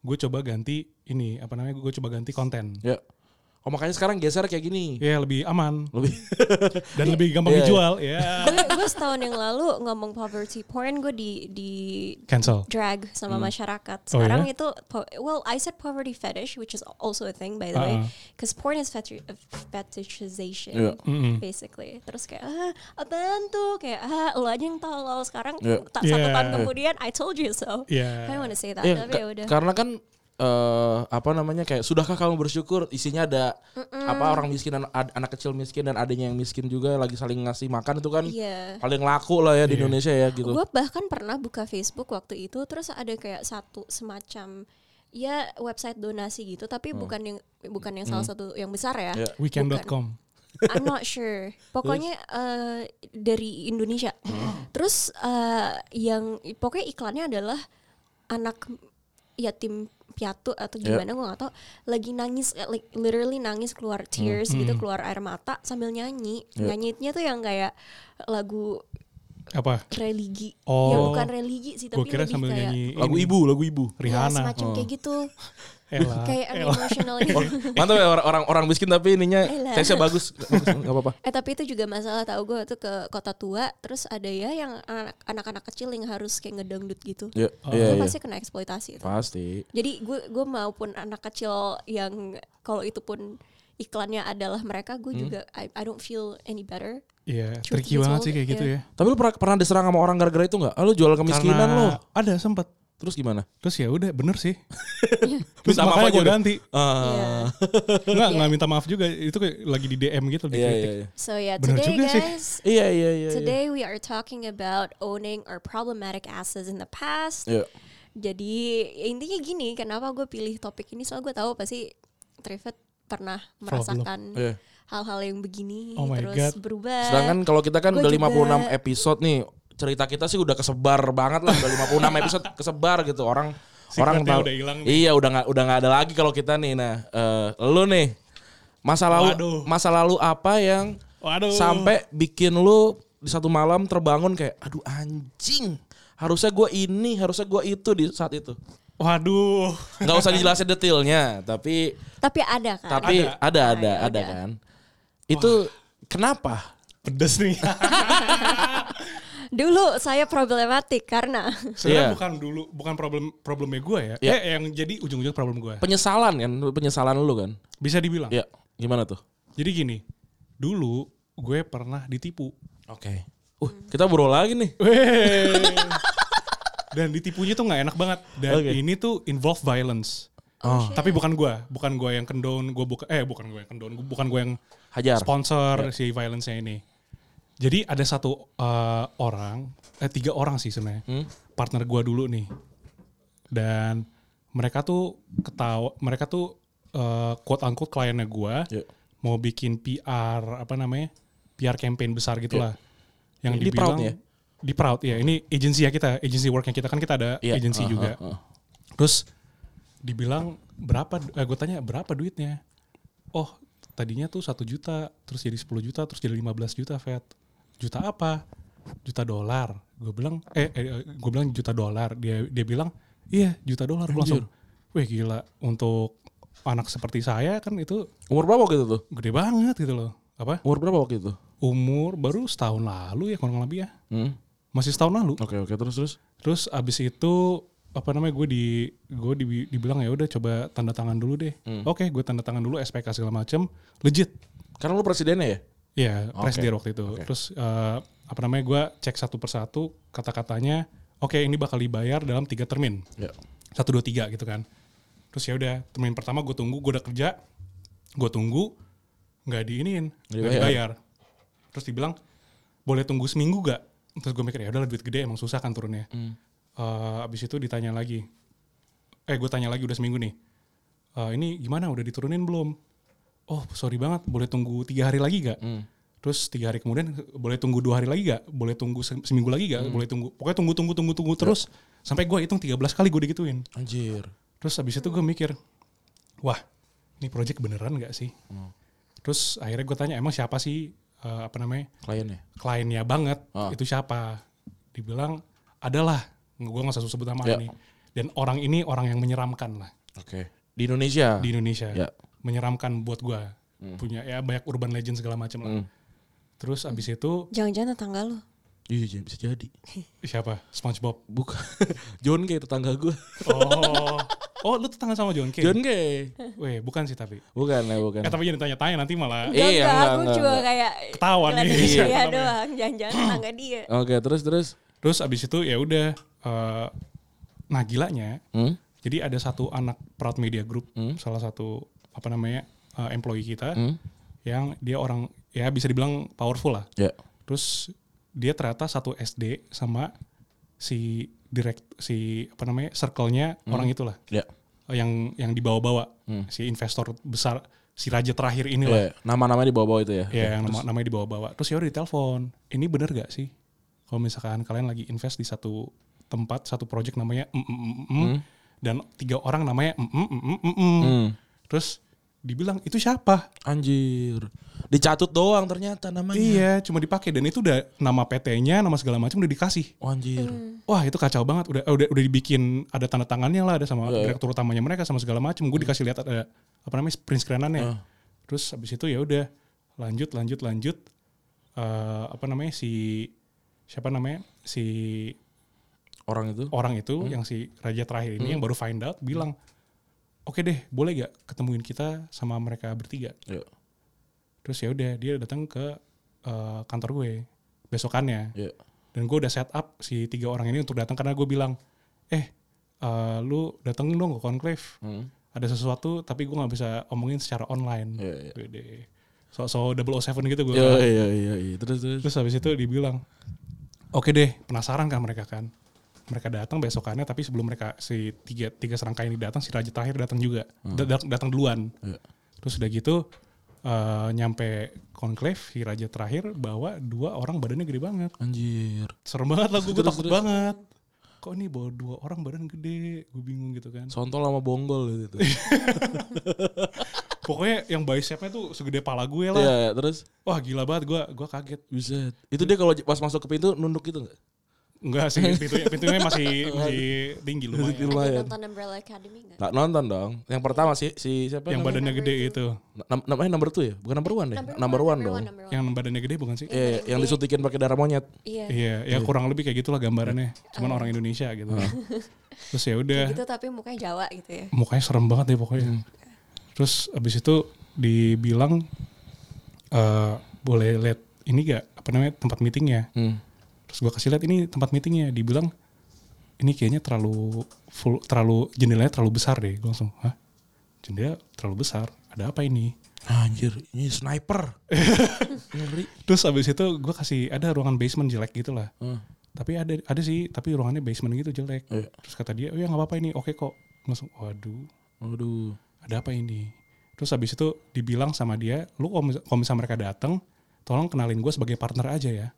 S3: Gue coba ganti ini apa namanya? Gue coba ganti konten.
S1: Ya. Oh makanya sekarang geser kayak gini.
S3: Ya lebih aman
S1: Lebih.
S3: dan lebih gampang
S1: Iya.
S3: dijual. Ya
S2: gue gue setahun yang lalu ngomong poverty porn gue di di
S3: cancel.
S2: drag sama masyarakat.
S3: Oh,
S2: Sekarang
S3: ya?
S2: itu po- well I said poverty fetish which is also a thing by the way
S3: Ah.
S2: because porn is feti- fetishization
S1: Iya.
S3: Mm-mm.
S2: basically. Terus kayak ah, apaan tuh kayak ah lo aja yang tahu lo sekarang
S1: Iya.
S2: tak satu
S3: Yeah.
S2: tahun kemudian I told you so.
S3: Iya.
S2: I wanna say that
S1: Ya,
S2: tapi
S1: ka-
S2: ya udah.
S1: Karena kan eh apa namanya kayak sudahkah kamu bersyukur isinya ada apa orang miskin dan ad- anak kecil miskin dan adanya yang miskin juga lagi saling ngasih makan itu kan
S2: Iya.
S1: paling laku lah ya di Indonesia ya gitu.
S2: Gue bahkan pernah buka Facebook waktu itu terus ada kayak satu semacam ya website donasi gitu tapi
S3: Hmm.
S2: bukan yang bukan yang salah satu yang besar ya.
S1: Iya.
S3: Weekend.com.
S2: *laughs* I'm not sure. Pokoknya eh, dari Indonesia.
S3: Hmm.
S2: *laughs* Terus eh, yang pokoknya iklannya adalah anak yatim piatu atau
S1: Yeah.
S2: gimana gue gak tau lagi nangis eh, like literally nangis
S3: Hmm.
S2: keluar tears gitu keluar air mata sambil nyanyi
S1: Yeah.
S2: nyanyinya tuh yang kayak lagu
S3: Apa?
S2: religi ya
S3: Oh.
S2: bukan religi sih
S3: Gue
S2: tapi lebih
S3: kira sambil
S2: kayak
S3: nyanyi
S1: Lagu
S3: ini,
S1: ibu, lagu ibu.
S2: ya,
S3: Rihanna. Oh. Ah.
S2: semacam kayak gitu
S3: Ella.
S2: kayak
S3: Ella.
S2: emotional
S3: *laughs*
S2: gitu
S3: Oh.
S1: Mantap ya orang- orang orang miskin tapi ininya
S2: Elah.
S1: teksnya bagus. Enggak apa-apa.
S2: Eh tapi itu juga masalah tahu gue tuh ke kota tua terus ada ya yang anak- anak-anak kecil yang harus kayak ngedangdut gitu.
S1: Ya, iya,
S2: Itu
S1: iya.
S2: pasti kena eksploitasi itu.
S1: Pasti.
S2: Jadi gue gue maupun anak kecil yang kalau itu pun iklannya adalah mereka
S1: Hmm.
S2: gue juga I, I don't feel any better.
S3: Iya,
S2: Cuti
S3: tricky
S2: gitu,
S3: banget sih kayak
S2: iya.
S3: gitu ya.
S1: Tapi lu pernah pernah diserang sama orang gara-gara itu enggak? Ah, lu jual kemiskinan
S3: Karena
S1: lo.
S3: Ada sempat.
S1: Terus gimana?
S3: Terus ya udah bener
S1: *laughs*
S3: sih. Terus
S1: Minta maaf
S3: makanya
S1: aja
S3: gue
S1: udah.
S3: ganti.
S2: Ya.
S1: Ah.
S3: Enggak,
S2: Iya.
S3: enggak minta maaf juga. Itu kayak lagi di DM gitu
S1: Iya,
S3: dikritik.
S1: iya, iya.
S2: So yeah,
S3: Bener
S2: today
S3: juga sih.
S2: guys,
S1: Iya, iya, iya. iya.
S2: today we are talking about owning our problematic asses in the past.
S1: Iya.
S2: Jadi ya intinya gini, kenapa gue pilih topik ini? Soalnya gue tahu pasti Trivet pernah merasakan
S1: Iya.
S2: hal-hal yang begini
S3: Oh my
S2: terus
S3: God.
S2: berubah.
S1: Sedangkan kalau kita kan
S2: Gua
S1: udah
S2: juga.
S1: 56 episode nih, cerita kita sih udah kesebar banget lah, udah 56 episode kesebar gitu. Orang orang
S3: Secretnya udah hilang nih.
S1: Iya, udah nggak udah nggak ada lagi kalau kita nih. Nah, eh, lu nih masa lalu
S3: Waduh.
S1: masa lalu apa yang
S3: Waduh.
S1: sampai bikin lu di satu malam terbangun kayak aduh anjing, harusnya gua ini, harusnya gua itu di saat itu.
S3: Waduh.
S1: Nggak usah dijelasin detailnya, tapi
S2: Tapi ada kan.
S1: tapi ada ada
S2: Ah,
S1: ada,
S2: ya udah.
S1: kan. Itu kenapa?
S3: Pedes
S1: *laughs*
S3: nih. *laughs*
S2: Dulu saya problematik karena *laughs*
S3: Sebenarnya
S1: Iya.
S3: bukan dulu bukan problem problemnya gue ya.
S1: Iya.
S3: Eh, yang jadi ujung-ujung problem gue.
S1: Penyesalan kan, penyesalan lu kan.
S3: Bisa dibilang.
S1: Ya, gimana tuh?
S3: Jadi gini, dulu gue pernah ditipu.
S1: Oke. Uh, kita bro lagi nih.
S3: Dan ditipunya tuh nggak enak banget. Dan
S1: Oke.
S3: ini tuh involve violence.
S1: Oh,
S3: Tapi bukan gue, bukan gue yang kendon, gue buka, eh bukan gue yang kendon, gua- bukan gue yang
S1: hajar. Ya.
S3: sponsor si violence-nya ini. Jadi ada satu eh, orang, eh tiga orang sih sebenarnya,
S1: Hmm?
S3: partner gue dulu nih, dan mereka tuh ketawa, mereka tuh eh, quote unquote kliennya gue,
S1: Ya.
S3: mau bikin PR apa namanya, PR campaign besar gitulah, yang
S1: Ini di
S3: dibilang
S1: Proud ya?
S3: di Proud ya, ini agensi ya kita, agensi worknya kita kan kita ada
S1: Iya,
S3: agensi
S1: ah,
S3: juga,
S1: ah, ah.
S3: terus dibilang berapa, eh, gue tanya berapa duitnya, oh tadinya tuh satu juta terus jadi 10 juta terus jadi 15 juta Fed juta apa juta dolar gue bilang eh, gue bilang juta dolar dia dia bilang iya juta dolar gue langsung wih gila untuk anak seperti saya kan itu
S1: Umur berapa waktu itu tuh?
S3: gede banget gitu loh apa
S1: Umur berapa waktu itu?
S3: umur baru setahun lalu ya kurang lebih ya
S1: Hmm.
S3: masih setahun lalu
S1: Oke, oke, terus terus.
S3: terus abis itu apa namanya gue di gue di- dibilang ya udah coba tanda tangan dulu deh
S1: Hmm.
S3: oke gue tanda tangan dulu SPK segala macem legit
S1: Karena lu presidennya ya?
S3: Iya, presiden waktu itu.
S1: Oke.
S3: Terus eh, apa namanya? Gua cek satu persatu kata-katanya. Oke, ini bakal dibayar dalam tiga termin.
S1: Ya.
S3: Satu dua tiga gitu kan. Terus ya udah termin pertama gue tunggu, gue udah kerja, gue tunggu nggak diinin,
S1: Nggak
S3: nggak
S1: dibayar.
S3: dibayar. Terus dibilang boleh tunggu seminggu gak? Terus gue mikir ya udahlah duit gede emang susah kan turunnya. Eh, abis itu ditanya lagi, eh gue tanya lagi udah seminggu nih. Eh, ini gimana udah diturunin belum? Oh sorry banget, boleh tunggu tiga hari lagi gak? Terus tiga hari kemudian boleh tunggu dua hari lagi gak? Boleh tunggu se- seminggu lagi gak? Boleh tunggu, pokoknya tunggu tunggu tunggu tunggu terus sampai gue hitung 13 kali gue digituin.
S1: Anjir.
S3: Terus abis itu gue mikir, wah ini project beneran gak sih?
S1: Hmm.
S3: Terus akhirnya gue tanya emang siapa sih eh, apa namanya
S1: Kliennya.
S3: kliennya banget
S1: Ah.
S3: itu siapa? Dibilang adalah gue nggak usah sebut nama
S1: Ya.
S3: ini dan orang ini orang yang menyeramkan lah
S1: Oke. Di Indonesia.
S3: di Indonesia
S1: Ya.
S3: menyeramkan buat gue punya ya banyak urban legend segala macam lah.
S1: Hmm.
S3: Terus abis itu
S2: jangan-jangan tetangga lu.
S1: Iya, jadi- bisa jadi.
S3: siapa? SpongeBob.
S1: Bukan. *laughs* John Kay tetangga *laughs* gue.
S3: Oh, oh lu tetangga sama John Kay?
S1: John Kay.
S3: Weh, bukan sih tapi.
S1: Bukan ya, bukan.
S3: Eh tapi jangan tanya-tanya nanti malah
S1: Iya,
S2: Enggak,
S1: enggak,
S2: aku
S1: enggak,
S2: cuma
S1: enggak.
S2: kayak
S3: Ketawa nih.
S2: ngeliatin
S1: Iya.
S2: dia doang, jangan-jangan tetangga dia.
S1: Oke, terus terus.
S3: Terus abis itu ya udah, eh, nah gilanya,
S1: Hmm?
S3: jadi ada satu anak Proud Media Group,
S1: Hmm.
S3: salah satu apa namanya eh, employee kita,
S1: Hmm?
S3: yang dia orang ya bisa dibilang powerful lah.
S1: Ya.
S3: Terus dia ternyata satu SD sama si direct si apa namanya circle-nya orang itulah
S1: Ya.
S3: eh, yang yang dibawa-bawa
S1: Hmm.
S3: si investor besar si raja terakhir
S1: Ya,
S3: inilah.
S1: nama-namanya di bawah-bawah itu ya.
S3: Ya, yang nama, namanya dibawa-bawa. Terus ya udah ditelepon. Ini bener gak sih? Kalau misalkan kalian lagi invest di satu tempat, satu project namanya mm, mm, mm, mm, dan tiga orang namanya mm, mm, mm, mm, mm, mm.
S1: Hmm.
S3: Terus dibilang itu siapa?
S1: Anjir. Dicatut doang ternyata namanya.
S3: Iya, cuma dipakai dan itu udah nama PT-nya, nama segala macam udah dikasih.
S1: Oh, anjir.
S3: Wah, itu kacau banget. Udah eh, udah udah dibikin ada tanda tangannya lah, ada sama direktur utamanya mereka sama segala macam. Gue dikasih lihat ada apa namanya print screenannya. Terus habis itu ya udah lanjut lanjut lanjut Eh, apa namanya si siapa namanya si
S1: Orang itu.
S3: orang itu yang si raja terakhir ini yang baru find out bilang oke deh boleh gak ketemuin kita sama mereka bertiga
S1: Ya.
S3: terus ya udah dia datang ke eh, kantor gue besokannya
S1: Ya.
S3: dan gue udah set up si tiga orang ini untuk datang karena gue bilang eh eh, lu datang dong ke conclave
S1: Hmm.
S3: ada sesuatu tapi gue nggak bisa omongin secara online
S1: Iya, iya.
S3: Gede. so so 007 gitu gue
S1: Ya, ya, ya, ya. Terus terus.
S3: terus habis itu dibilang oke deh penasaran kan mereka kan mereka datang besokannya tapi sebelum mereka si tiga tiga serangkai ini datang si raja terakhir datang juga Da- dat- datang duluan
S1: Hmm. Iya.
S3: terus udah gitu eh, nyampe konklave si raja terakhir bawa dua orang badannya gede banget
S1: Anjir.
S3: serem banget lah gue
S1: Terus,
S3: takut
S1: terus.
S3: banget kok ini bawa dua orang badan gede gue bingung gitu kan
S1: Sontol sama bonggol gitu.
S3: pokoknya yang bicepnya tuh segede pala gue lah
S1: Iya, ya, terus
S3: wah gila banget gue gue kaget
S1: Buset. Itu dia kalau pas masuk ke pintu nunduk gitu enggak?
S3: Enggak sih, pintunya, pintunya
S1: *laughs*
S3: masih, masih tinggi lumayan.
S2: Ada
S1: Lumayan.
S2: nonton Umbrella Academy nggak?
S1: Nggak nonton dong. Yang pertama si, si siapa? namanya?
S3: Yang badannya gede itu.
S1: Nam- namanya number two ya? Bukan number one ya? Number, one, dong.
S2: number one.
S3: Yang badannya gede bukan sih?
S1: Iya, yang disuntikin pakai darah monyet.
S2: Iya.
S3: Iya, ya kurang lebih kayak gitulah
S1: Iya.
S3: gambarannya. Cuman orang Indonesia gitu. Terus ya udah,
S2: Gitu tapi mukanya Jawa gitu ya.
S3: mukanya serem banget deh pokoknya.
S1: Hmm.
S3: Terus abis itu dibilang eh boleh lihat ini gak apa namanya tempat meetingnya.
S1: Hmm.
S3: Terus gua kasih lihat ini tempat meetingnya. Dibilang ini kayaknya terlalu full, terlalu jendelanya terlalu besar deh. Gua langsung, hah? Jendela terlalu besar. Ada apa ini?
S1: Anjir, ini *laughs* sniper. Ngeri.
S3: Terus abis itu gua kasih ada ruangan basement jelek gitu lah.
S1: Hmm.
S3: Tapi ada ada sih, tapi ruangannya basement gitu jelek. Terus kata dia, oh ya nggak apa-apa ini, oke kok. Langsung, waduh,
S1: Aduh.
S3: ada apa ini? Terus abis itu dibilang sama dia, lu kalau mis- kalau misalnya mereka datang, tolong kenalin gue sebagai partner aja ya,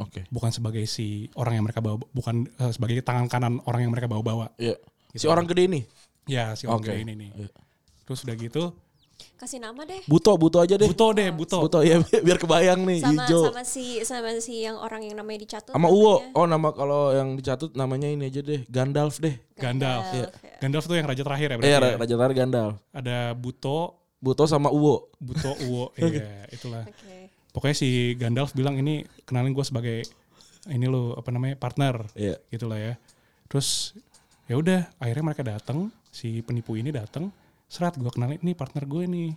S1: Oke.
S3: bukan sebagai si orang yang mereka bawa, bukan eh, sebagai tangan kanan orang yang mereka bawa-bawa.
S1: Iya. Si orang gede ini.
S3: Ya si orang
S1: Oke. Iya.
S3: gede ini nih. Terus udah gitu,
S2: Kasih nama deh.
S1: Buto, buto aja deh.
S3: buto deh, buto.
S1: Buto ya bi- *laughs* biar kebayang nih
S2: Sama
S1: hijau.
S2: sama si sama si yang orang yang namanya dicatut.
S1: Sama Uwo.
S2: namanya.
S1: Oh nama kalau yang dicatut namanya ini aja deh, Gandalf deh.
S3: Gandalf.
S2: Iya.
S3: Gandalf tuh yang raja terakhir ya berarti.
S1: Eh,
S3: ya?
S1: Raja Tar Gandalf.
S3: Ada buto,
S1: Buto sama Uwo.
S3: buto
S1: *laughs*
S3: uwo, iya itulah.
S2: Oke.
S3: Pokoknya si Gandalf bilang ini kenalin gue sebagai ini lo apa namanya partner.
S1: Iya.
S3: gitu lah ya. Terus ya udah akhirnya mereka datang, si penipu ini datang, serat gua kenalin ini partner gue nih.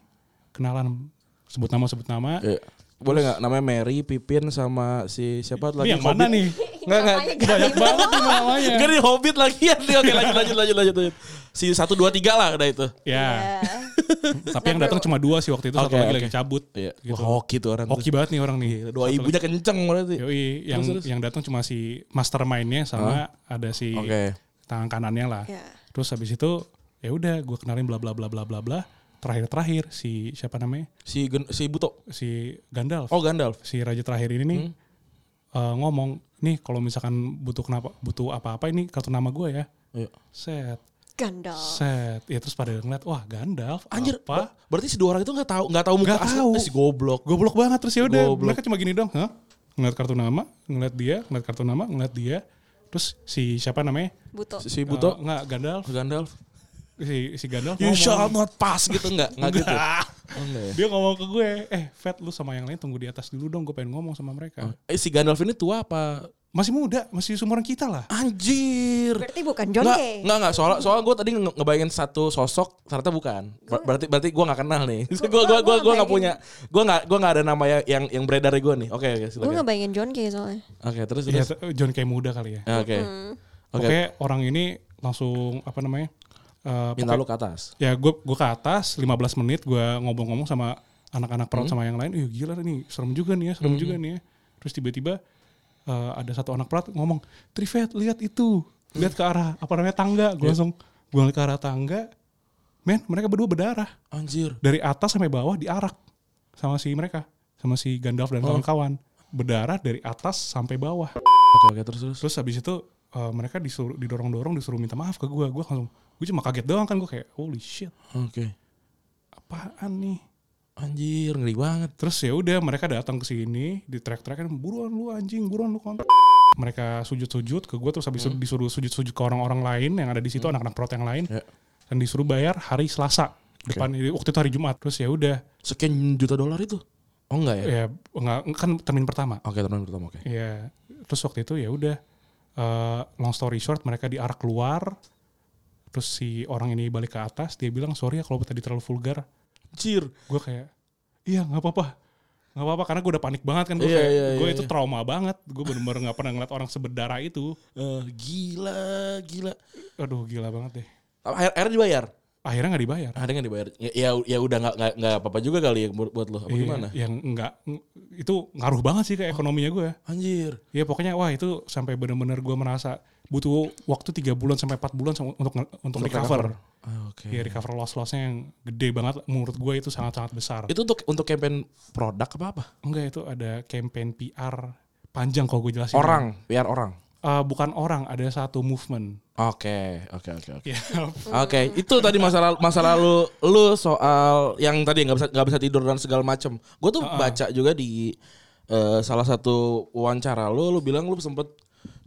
S3: Kenalan sebut nama sebut nama.
S1: Iya. Boleh nggak namanya Mary, Pipin sama si siapa
S3: ini
S1: lagi?
S3: yang mana nih?
S1: *laughs* Enggak enggak.
S2: Namanya
S3: Banyak banget nih namanya.
S1: Enggak nih Hobbit lagi *laughs* ya. Oke lanjut lanjut lanjut lanjut. lanjut. Si 1 2 3 lah udah itu.
S3: Ya,
S1: *laughs*
S2: Iya. Nah,
S3: tapi yang datang cuma dua sih waktu itu satu
S1: Oke,
S3: lagi
S1: oke.
S3: lagi cabut.
S1: Iya.
S3: Gitu.
S1: Wah, hoki tuh orang.
S3: Hoki banget nih orang nih.
S1: Doa ibunya kenceng berarti.
S3: Yoi, yang
S1: Terus, terus.
S3: yang datang cuma si mastermind-nya sama ada si
S1: Oke.
S3: tangan kanannya lah.
S2: Iya.
S3: Terus habis itu ya udah gue kenalin bla bla bla bla bla bla. Terakhir-terakhir si siapa namanya?
S1: Si Gen- si Buto.
S3: Si Gandalf.
S1: Oh Hmm. Gandalf.
S3: si raja terakhir ini nih eh, ngomong nih kalau misalkan butuh kenapa butuh apa-apa ini kartu nama gue ya
S1: Iya.
S3: set
S2: Gandalf.
S3: set ya terus pada ngeliat wah Gandalf
S1: Anjir,
S3: apa
S1: ber- berarti si dua orang itu nggak tahu nggak tahu muka
S3: Nggak
S1: asli
S3: tahu.
S1: Eh, si goblok.
S3: goblok banget terus ya udah
S1: Goblok.
S3: mereka cuma gini dong Hah? ngeliat kartu nama ngeliat dia ngeliat kartu nama ngeliat dia terus si siapa namanya
S2: Buto.
S1: Si, si Buto, Ya,
S3: Eh, nggak Gandalf
S1: Gandalf.
S3: si si Gandalf
S1: You
S3: ngomong.
S1: shall not pass gitu nggak nggak gitu.
S3: Ah,
S1: Oh, nggak ya.
S3: dia ngomong ke gue eh Fat lu sama yang lain tunggu di atas dulu dong gue pengen ngomong sama mereka
S1: Eh, si Gandalf ini tua apa?
S3: masih muda masih seumuran kita lah
S1: Anjir.
S2: Berarti bukan John
S1: Nggak,
S2: Kay.
S1: nggak, nggak. Soalnya, soalnya gue tadi nge- ngebayangin satu sosok, ternyata bukan. Ber- berarti, berarti gue nggak kenal nih. Gue, gue, gue,
S2: gua-
S1: gue,
S2: gua
S1: nggak punya. Gue nggak, gue nggak ada nama yang yang, yang beredar di gue nih. Oke, oke,
S2: Gue
S1: silakan. Oke,
S2: ngebayangin John Kay soalnya.
S1: terus,
S3: Iya,
S1: terus.
S3: t- John kayak muda kali ya
S1: Eh, Oke, oke.
S3: Oke, orang ini langsung apa namanya? eh,
S1: Minta
S3: pokoknya-
S1: lu ke atas.
S3: Ya gue gue ke atas 15 menit gue ngomong-ngomong sama anak-anak perut sama yang lain. Ih gila nih, serem juga nih ya, serem juga nih ya. Terus tiba-tiba eh, ada satu anak pelat ngomong, Trivet lihat itu, lihat ke arah apa namanya tangga. Gue langsung gue ngeliat ke arah tangga. Men, mereka berdua berdarah
S1: Anjir.
S3: dari atas sampai bawah diarak sama si mereka, sama si Gandalf dan kawan-kawan. Berdarah dari atas sampai bawah.
S1: Oke, oke, terus, terus.
S3: Terus habis itu uh, mereka disuruh didorong-dorong disuruh minta maaf ke gue. Gue langsung gue cuma kaget doang kan gue kayak holy shit
S1: Oke.
S3: apaan nih.
S1: Anjir, ngeri banget.
S3: Terus ya udah mereka datang ke sini di track-trackan buruan lu anjing buruan lu kontak. Mereka sujud-sujud ke gue terus habis itu disuruh sujud-sujud ke orang-orang lain yang ada di situ anak-anak perut yang lain
S1: Hmm. Ya.
S3: dan disuruh bayar hari Selasa depan waktu itu hari Jumat. Terus ya udah
S1: Sekian juta dolar itu? Oh enggak ya?
S3: ya nggak kan termin pertama.
S1: Oke, teman pertama, oke.
S3: Iya. Terus waktu itu ya udah eh, long story short mereka diarak keluar. Terus si orang ini balik ke atas, dia bilang sorry ya kalau tadi terlalu vulgar.
S1: Anjir.
S3: Gue kayak iya nggak apa-apa, nggak apa-apa karena gue udah panik banget kan gue
S1: Iya,
S3: kayak
S1: iya,
S3: gue
S1: iya,
S3: itu
S1: iya.
S3: trauma banget. Gue bener-bener nggak pernah ngeliat orang seberdarah itu.
S1: Eh, gila, gila.
S3: Aduh gila banget deh.
S1: Akhir, akhirnya dibayar?
S3: Akhirnya nggak dibayar.
S1: Akhirnya nggak dibayar. Ya, ya, ya udah nggak nggak- nggak apa-apa juga kali ya buat, buat lo. Apa
S3: Iya,
S1: gimana?
S3: Yang nggak itu ngaruh banget sih ke ekonominya gue.
S1: Anjir.
S3: Ya pokoknya wah itu sampai bener-bener gue merasa butuh waktu 3 bulan sampai 4 bulan sama- untuk nge- untuk, recover.
S1: Ah, Oke.
S3: Ya recover loss-lossnya yang gede banget menurut gue itu sangat-sangat besar.
S1: Itu untuk untuk campaign produk apa apa?
S3: Enggak itu ada campaign PR panjang kalau gue jelasin.
S1: Orang, biar orang.
S3: Eh, bukan orang, ada satu movement. *laughs*
S1: Oke, oke, oke, oke.
S3: Ya,
S1: Oke, itu tadi masalah masa lalu lu soal yang tadi nggak bisa nggak bisa tidur dan segala macem. Gue tuh baca juga di eh, salah satu wawancara lu, lu bilang lu sempet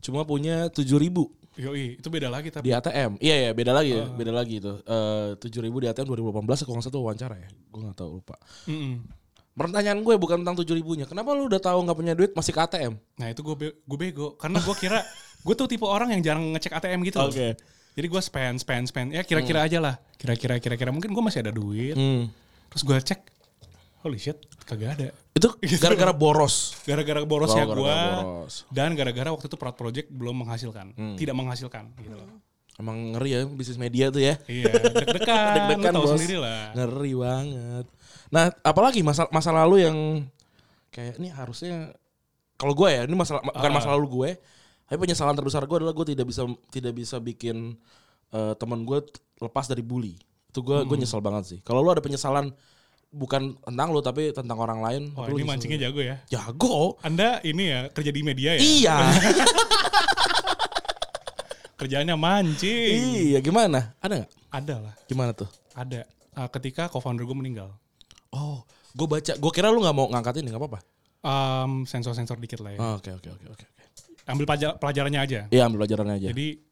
S1: cuma punya 7000 ribu
S3: Yoi, itu beda lagi tapi.
S1: di ATM. Iya ya, beda lagi, ya, beda lagi itu. Eh, Tujuh ribu di ATM 2018 kalau nggak salah tuh wawancara ya. Gue nggak tahu lupa.
S3: Mm-mm.
S1: Pertanyaan gue bukan tentang tujuh ribunya. Kenapa lu udah tahu nggak punya duit masih ke ATM?
S3: Nah itu gue be- gue bego karena gue kira *laughs* gue tuh tipe orang yang jarang ngecek ATM gitu. loh.
S1: Oke.
S3: Jadi gue spend spend spend ya kira-kira aja lah. Kira-kira kira-kira mungkin gue masih ada duit.
S1: Hmm.
S3: Terus gue cek, holy shit kagak ada.
S1: Itu gara-gara boros.
S3: Gara-gara borosnya
S1: Oh,
S3: gue
S1: gara-gara boros. Hmm.
S3: dan gara-gara waktu itu proud project belum menghasilkan, tidak menghasilkan gitu loh.
S1: Emang ngeri ya bisnis media tuh ya.
S3: Iya,
S1: *laughs*
S3: deg-degan,
S1: Deg-degan,
S3: lu tahu
S1: Bos.
S3: sendiri lah.
S1: Ngeri banget. Nah, apalagi masa masa lalu yang kayak ini harusnya kalau gue ya, ini masalah bukan masa lalu gue. Tapi penyesalan terbesar gue adalah gue tidak bisa tidak bisa bikin eh, teman gue t- lepas dari bully. Itu gue gue nyesel banget sih. Kalau lu ada penyesalan bukan tentang lu tapi tentang orang lain, tapi
S3: Wah
S1: lu
S3: ini
S1: nyesel.
S3: mancingnya jago ya.
S1: *laughs* jago.
S3: Anda ini ya kerja di media ya.
S1: Iya.
S3: Kerjaannya mancing.
S1: iya, gimana? Ada nggak?
S3: Ada lah,
S1: Gimana tuh?
S3: ada. Ah, ketika co-founder gue meninggal.
S1: Oh, gue baca. Gue kira lu nggak mau ngangkat ini, nggak apa-apa.
S3: Um, sensor-sensor dikit lah ya.
S1: Oh, Oke, oke, oke, oke. oke.
S3: Ambil pelajar- pelajarannya aja.
S1: Iya, ambil pelajarannya aja.
S3: Jadi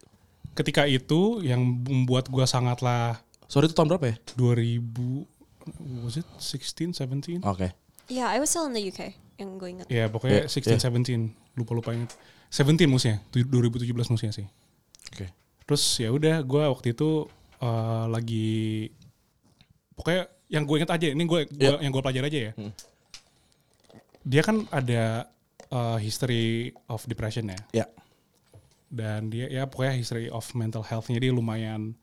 S3: ketika itu yang membuat gua sangatlah
S1: Sorry itu tahun berapa ya?
S3: 2000 was it 16 17?
S1: Oke.
S2: Yeah, Iya, I was still in the UK yang gue
S1: *laughs*
S2: inget.
S3: Ya
S1: Ya,
S3: pokoknya 16
S1: ya.
S3: 17 lupa-lupa ingat. 17 musuhnya, tu- 2017 musuhnya sih.
S1: Oke.
S3: Terus ya udah gua waktu itu eh, lagi pokoknya yang gue inget aja ini gue
S1: Ya.
S3: yang gue pelajari aja ya. Dia kan ada eh, history of depression ya.
S1: Ya.
S3: dan dia ya pokoknya history of mental health-nya dia lumayan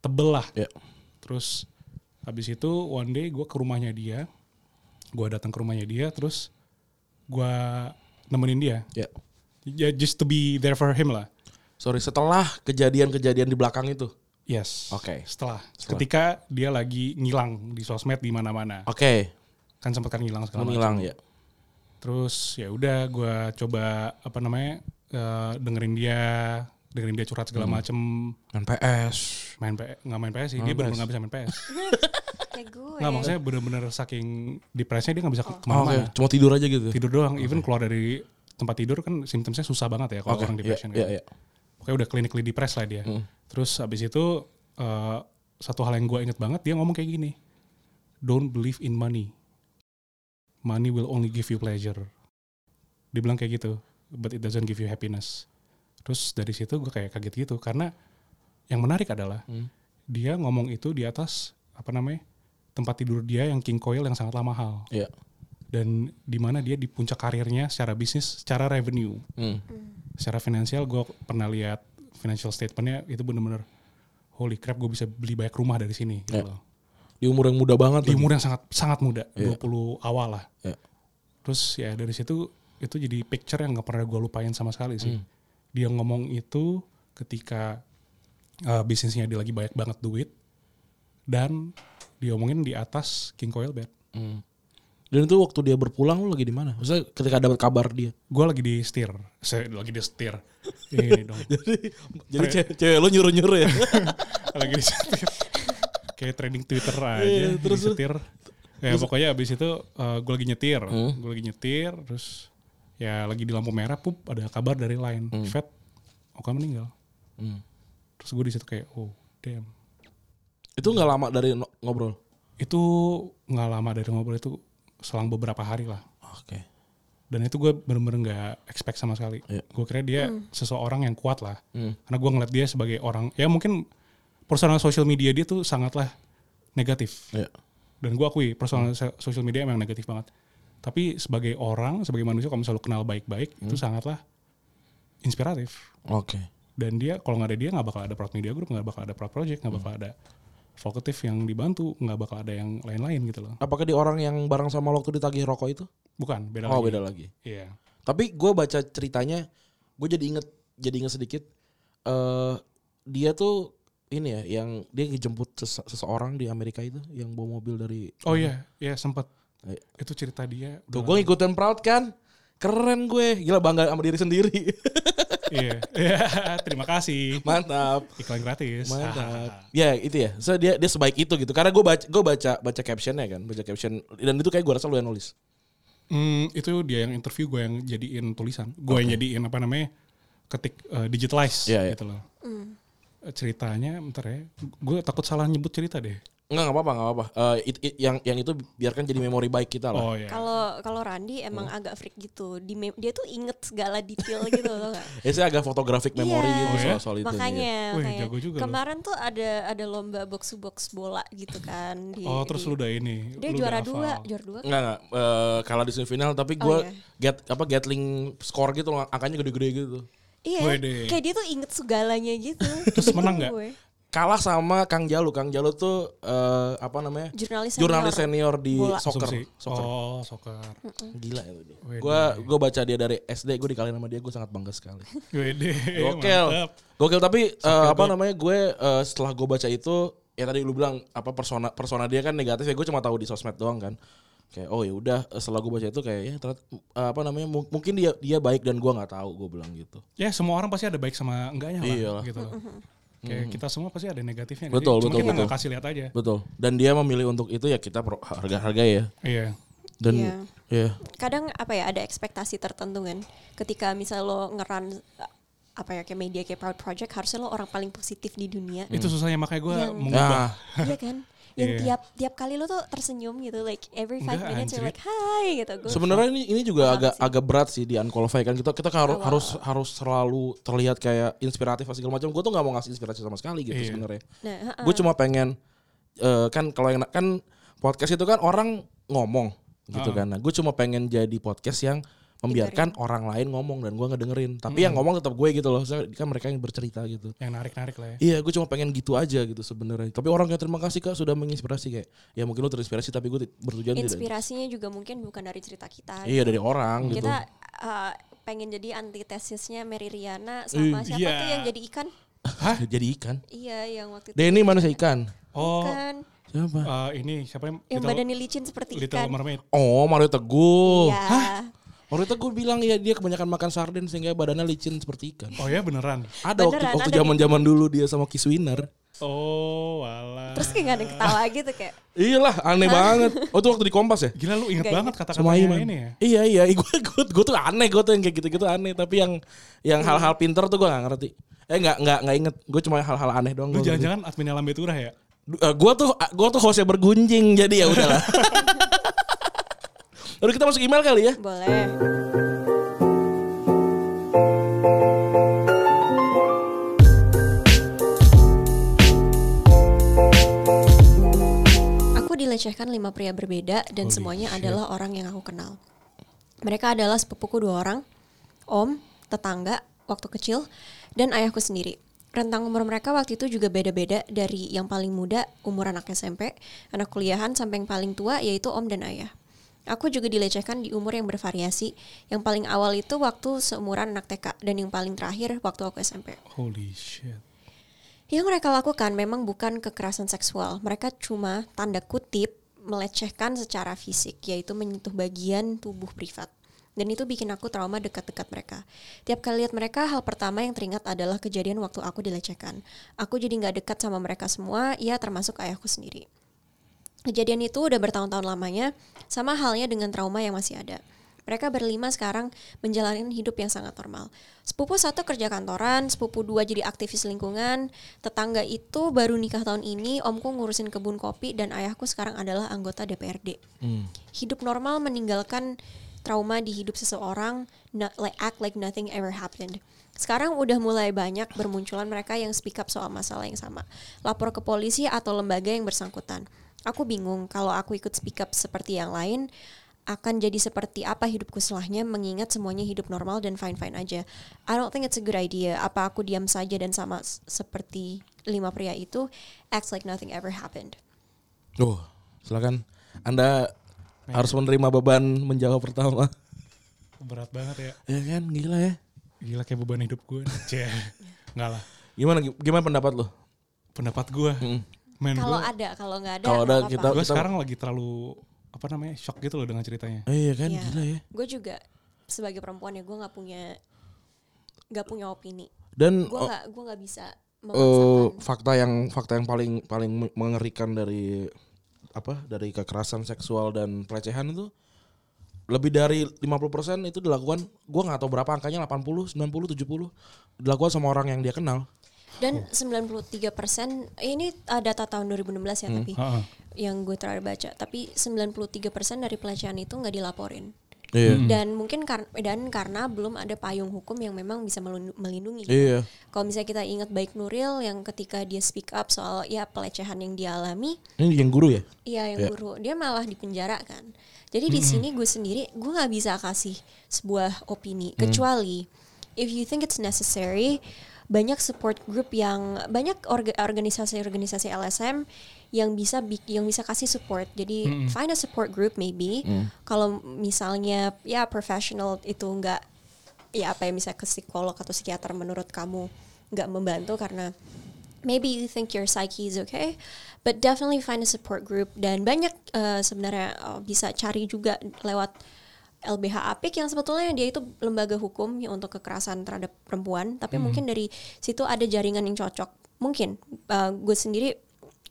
S3: tebel lah.
S1: Ya.
S3: Terus habis itu one day gue ke rumahnya dia, gue datang ke rumahnya dia, terus gue nemenin dia,
S1: Ya.
S3: ya just to be there for him lah.
S1: Sorry setelah kejadian-kejadian di belakang itu.
S3: Yes.
S1: Oke.
S3: Setelah,
S1: Setelah. Oh.
S3: ketika dia lagi ngilang di sosmed di mana-mana,
S1: Oke.
S3: kan sempat kan ngilang segala
S1: Kamu
S3: macam.
S1: hilang ya.
S3: Terus ya udah gue coba apa namanya eh, dengerin dia, dengerin dia curhat segala macem
S1: NPS.
S3: main PS nggak main PS sih
S1: Nggak
S3: dia
S1: Hmm. main
S3: benar
S1: PS.
S3: nggak bisa main PS
S2: Kayak gue.
S3: Nggak maksudnya bener-bener saking depresnya dia nggak bisa ke-
S1: Oh, Oke.
S3: kemana-mana.
S1: Cuma tidur aja gitu.
S3: Tidur doang, even keluar dari tempat tidur kan symptomsnya susah banget ya kalau
S1: Oke.
S3: orang
S1: Iya,
S3: depression.
S1: iya,
S3: kan.
S1: iya.
S3: Pokoknya udah clinically depressed lah dia.
S1: Hmm,
S3: Terus abis itu eh, satu hal yang gue inget banget dia ngomong kayak gini, don't believe in money, money will only give you pleasure. Dibilang kayak gitu, but it doesn't give you happiness. Terus dari situ gue kayak kaget gitu karena yang menarik adalah
S1: Hmm.
S3: dia ngomong itu di atas apa namanya tempat tidur dia yang king coil yang sangatlah mahal
S1: Iya.
S3: dan di mana dia di puncak karirnya secara bisnis, secara revenue,
S1: Hmm.
S3: secara finansial gue pernah lihat financial statementnya itu bener-bener holy crap gue bisa beli banyak rumah dari sini gitu
S1: Ya.
S3: loh.
S1: Di umur yang muda banget. lagi.
S3: Di umur yang sangat sangat muda,
S1: Ya.
S3: 20 awal lah.
S1: Ya.
S3: Terus ya dari situ itu jadi picture yang gak pernah gue lupain sama sekali sih.
S1: Hmm.
S3: Dia ngomong itu ketika uh, bisnisnya dia lagi banyak banget duit dan diomongin di atas King Coil Bed.
S1: Hmm. Dan itu waktu dia berpulang lu lagi di mana? Maksudnya ketika dapat kabar dia.
S3: Gue lagi di setir, saya lagi di setir. Ini
S1: *laughs*
S3: dong.
S1: Jadi jadi cewek, cewek lu nyuruh-nyuruh *laughs* ya.
S3: lagi disetir kayak trending twitter aja
S1: Iya,
S3: terus
S1: terus-
S3: disetir ya pokoknya abis itu gue lagi nyetir
S1: Hmm?
S3: gue lagi nyetir terus ya lagi di lampu merah pup ada kabar dari lain Fed Oka meninggal
S1: Hmm.
S3: terus gue di situ kayak oh damn
S1: Itu nggak lama dari no- ngobrol.
S3: itu nggak lama dari ngobrol itu selang beberapa hari lah
S1: Oke.
S3: dan itu gue bener-bener nggak expect sama sekali
S1: Iya.
S3: gue kira dia seseorang yang kuat lah
S1: Hmm.
S3: karena gue ngeliat dia sebagai orang ya mungkin personal social media dia tuh sangatlah negatif
S1: Iya.
S3: dan gue akui personal so- social media emang negatif banget tapi sebagai orang sebagai manusia kalau misalnya lu kenal baik-baik
S1: Hmm.
S3: itu sangatlah inspiratif
S1: Oke.
S3: dan dia kalau nggak ada dia nggak bakal ada Proud Media Group nggak bakal ada Proud Project
S1: Hmm.
S3: nggak bakal ada Vokatif yang dibantu nggak bakal ada yang lain-lain gitu loh
S1: Apakah di orang yang bareng sama lo waktu ditagih rokok itu?
S3: bukan beda
S1: Oh,
S3: lagi
S1: beda lagi.
S3: iya
S1: Tapi gue baca ceritanya, gue jadi inget, jadi inget sedikit. eh dia tuh ini ya, yang dia ngejemput sese- seseorang di Amerika itu, yang bawa mobil dari.
S3: oh iya iya sempet
S1: Iya.
S3: itu cerita dia
S1: Tuh
S3: udah
S1: gue ngikutin proud kan, keren gue, gila bangga sama diri sendiri. *laughs*
S3: lama. iya *laughs* Iya, terima kasih
S1: Mantap.
S3: iklan gratis
S1: Mantap. ya itu ya. So dia dia sebaik itu gitu. Karena gue baca gue baca baca captionnya kan, baca caption dan itu kayak gue rasa lu yang nulis.
S3: Hmm, itu dia yang interview gue yang jadiin tulisan. Gue yang jadiin apa namanya ketik eh, digitalize
S1: Iya, iya.
S3: gitu loh.
S2: Hmm.
S3: Eh, Ceritanya bentar ya, gue takut salah nyebut cerita deh.
S1: Enggak enggak apa-apa, enggak apa-apa. Eh, it- it- yang yang itu biarkan jadi memori baik kita lah.
S3: Oh ya. Hmm.
S2: Kalau kalau Randi emang agak freak gitu. Di mem- dia tuh inget segala
S3: *laughs*
S2: detail gitu loh.
S1: Ya saya agak fotografik memori
S2: Iya.
S1: gitu
S3: Oh, ya?
S1: soal, soal itu. iya.
S2: Makanya
S3: Wih,
S2: kayak
S3: jago juga lu.
S2: kemarin tuh ada ada lomba box to box bola gitu
S3: *laughs*
S2: kan di
S3: Oh terus
S2: di-
S3: lu udah ini.
S2: dia
S3: lu
S2: juara
S3: udah
S2: dua,
S3: hafal.
S2: juara dua.
S1: Enggak enggak eh, kalah di semifinal tapi
S2: Oh,
S1: gue
S2: iya.
S1: get apa gatling score gitu loh, angkanya gede-gede gitu.
S2: Iya,
S3: Wede.
S2: kayak dia tuh inget segalanya gitu.
S3: *laughs* Terus menang nggak?
S2: Gue.
S1: Kalah sama Kang Jalu. Kang Jalu tuh eh, apa namanya?
S2: Jurnalis senior.
S1: Jurnalis senior di
S2: Bola.
S1: soccer.
S3: Asumsi.
S1: Soccer.
S3: Oh soccer.
S1: Gila itu dia.
S3: Wede.
S1: Gue gue baca dia dari SD, gue dikalahin sama dia, gue sangat bangga sekali.
S3: Wede.
S1: Gokil.
S3: mantap.
S1: Gokil tapi eh, apa namanya gue eh, setelah gue baca itu ya tadi lu bilang apa persona persona dia kan negatif ya gue cuma tahu di sosmed doang kan. Kayak oh ya udah eh, setelah gue baca itu kayak ya ternyata, eh, apa namanya mu- mungkin dia dia baik dan gue nggak tahu gue bilang gitu.
S3: Ya semua orang pasti ada baik sama enggaknya
S1: Iyalah.
S3: lah. Gitu loh. Kayak kita semua pasti ada negatifnya. nggak sih?
S1: Iya Betul,
S3: Cuma
S1: betul,
S3: kita
S1: betul.
S3: nggak kasih lihat aja.
S1: Betul. Dan dia memilih untuk itu ya kita pro- harga-harga ya.
S3: Iya.
S1: Dan
S2: Iya.
S1: ya
S2: Kadang apa ya ada ekspektasi tertentu kan. Ketika misal lo ngeran apa ya kayak media kayak Proud Project harusnya lo orang paling positif di dunia.
S3: Itu
S1: Mm.
S3: susahnya makanya gue
S2: Yang-
S3: mengubah.
S1: Nah,
S2: *laughs* Iya kan? Yang
S3: Iya.
S2: tiap tiap kali lo tuh tersenyum gitu like every five
S3: Enggak,
S2: minutes you're like
S3: anjrit.
S2: hi gitu. Gua-
S1: sebenarnya ini ini juga agak agak berat sih di unqualified kan kita kita harus harus harus selalu terlihat kayak inspiratif atau segala macam. Gue tuh nggak mau ngasih inspirasi sama sekali gitu
S3: Iya.
S1: sebenarnya.
S2: Nah, ha-ha.
S1: gue cuma pengen eh, kan kalau yang kan podcast itu kan orang ngomong gitu kan nah gue cuma pengen jadi podcast yang membiarkan orang lain ngomong dan gue ngedengerin tapi yang ngomong tetap gue gitu loh Saya- kan mereka yang bercerita gitu
S3: Yang narik-narik lah ya.
S1: Iya, gue cuma pengen gitu aja gitu sebenarnya. Tapi orang kayak terima kasih kak sudah menginspirasi kayak, ya mungkin lo terinspirasi tapi gue ti- bertujuan tidak.
S2: inspirasinya juga mungkin bukan dari cerita kita.
S1: Iya dari orang gitu.
S2: Kita uh, pengen jadi antitesisnya Mary Riana sama siapa
S3: iya.
S2: tuh yang jadi ikan?
S1: Hah? *laughs* Jadi ikan.
S2: Iya, yang waktu itu
S1: Denny manusia ikan.
S3: Oh
S2: kan
S1: Siapa?
S3: eh, ini siapa yang?
S2: yang
S3: Little,
S2: badannya licin seperti
S3: Little
S2: ikan.
S3: Mermaid.
S1: Oh Mario Teguh.
S2: Iya.
S1: Mario Teguh bilang ya dia kebanyakan makan sarden sehingga badannya licin seperti ikan.
S3: Oh ya beneran.
S1: Ada waktu
S2: Beneran,
S1: waktu
S2: ada
S1: zaman-zaman dulu dia sama Kiswiner.
S3: Oh wala.
S2: Terus kayak gak ada yang ketawa gitu kayak.
S1: Iyalah, aneh banget. Oh itu waktu di Kompas ya?
S3: Gila lu inget
S2: Nggak
S3: banget
S1: *laughs* Sama
S3: kata-katanya
S1: Iman.
S3: ini ya.
S1: Iya iya, gue gue gue tuh aneh, gue tuh yang kayak gitu-gitu aneh. Tapi yang yang hal-hal pinter tuh gue gak ngerti. Eh nggak nggak nggak inget. Gue cuma hal-hal aneh doang.
S3: Lu
S1: Gue
S3: jangan-jangan adminnya Lambe Turah ya?
S1: gue tuh gue tuh hostnya bergunjing, jadi ya *laughs* udahlah. Lalu kita masuk email kali ya.
S2: Boleh. Aku dilecehkan lima pria berbeda dan
S3: Holy
S2: semuanya
S3: shit.
S2: adalah orang yang aku kenal. Mereka adalah sepupuku dua orang, om, tetangga, waktu kecil, dan ayahku sendiri. Rentang umur mereka waktu itu juga beda-beda dari yang paling muda, umur anak SMP, anak kuliahan, sampai yang paling tua, yaitu om dan ayah. Aku juga dilecehkan di umur yang bervariasi. Yang paling awal itu waktu seumuran anak TK, dan yang paling terakhir waktu aku SMP.
S3: Holy shit.
S2: Yang mereka lakukan memang bukan kekerasan seksual. Mereka cuma tanda kutip melecehkan secara fisik, yaitu menyentuh bagian tubuh privat. Dan itu bikin aku trauma dekat-dekat mereka. Tiap kali lihat mereka, hal pertama yang teringat adalah kejadian waktu aku dilecehkan. Aku jadi nggak dekat sama mereka semua, ya termasuk ayahku sendiri. Kejadian itu udah bertahun-tahun lamanya, sama halnya dengan trauma yang masih ada. Mereka berlima sekarang menjalani hidup yang sangat normal. Sepupu satu kerja kantoran, sepupu dua jadi aktivis lingkungan, tetangga itu baru nikah tahun ini, omku ngurusin kebun kopi, dan ayahku sekarang adalah anggota DPRD. Hidup normal meninggalkan trauma di hidup seseorang, not like act like nothing ever happened. Sekarang udah mulai banyak bermunculan mereka yang speak up soal masalah yang sama. Lapor ke polisi atau lembaga yang bersangkutan. Aku bingung kalau aku ikut speak up seperti yang lain akan jadi seperti apa hidupku setelahnya mengingat semuanya hidup normal dan fine-fine aja. I don't think it's a good idea. Apa aku diam saja dan sama s- seperti lima pria itu acts like nothing ever happened.
S1: Duh, silakan. Anda harus menerima beban menjawab pertama.
S3: Berat banget ya.
S1: Ya kan, gila ya.
S3: Gila kayak beban hidup *laughs* gue. Cih. Enggak lah.
S1: Gimana gimana pendapat lo?
S3: Pendapat gue. Men
S2: Kalau
S3: gue,
S2: ada, kalau nggak ada,
S1: Kalau ada,
S2: nggak
S1: kita-
S2: apa-apa.
S3: gue
S1: kita-
S3: sekarang lagi terlalu apa namanya shock gitu loh dengan ceritanya.
S1: Eh, iya kan,
S2: Iya.
S1: gila ya.
S2: Gue juga sebagai perempuan ya gue nggak punya nggak punya opini.
S1: Dan oh,
S2: Gue nggak gue nggak bisa
S1: eh
S2: memaksakan.
S1: fakta yang fakta yang paling paling mengerikan dari apa dari kekerasan seksual dan pelecehan itu lebih dari 50% itu dilakukan gua nggak tahu berapa angkanya 80, 90, 70 dilakukan sama orang yang dia kenal.
S2: Dan 93 persen, ini uh, data tahun 2016 ya tapi
S3: Heeh.
S2: yang gue terakhir baca. Tapi 93 persen dari pelecehan itu nggak dilaporin.
S1: Iya.
S2: Dan mungkin kar- dan karena belum ada payung hukum yang memang bisa melun- melindungi.
S1: Iya.
S2: Kalau misalnya kita ingat baik Nuril yang ketika dia speak up soal ya pelecehan yang dia alami,
S1: Ini yang guru ya?
S2: Iya yang
S1: Iya.
S2: guru dia malah dipenjara kan. Jadi di sini gue sendiri gue nggak bisa kasih sebuah opini kecuali if you think it's necessary banyak support group yang banyak orga- organisasi-organisasi LSM yang bisa bik- yang bisa kasih support. Jadi find a support group maybe. Kalau misalnya ya professional itu nggak ya apa ya misalnya ke psikolog atau psikiater menurut kamu nggak membantu karena maybe you think your psyche is okay, but definitely find a support group dan banyak eh, sebenarnya eh, bisa cari juga lewat LBH Apik yang sebetulnya dia itu lembaga hukum ya untuk kekerasan terhadap perempuan, tapi mungkin dari situ ada jaringan yang cocok. Mungkin eh, gue sendiri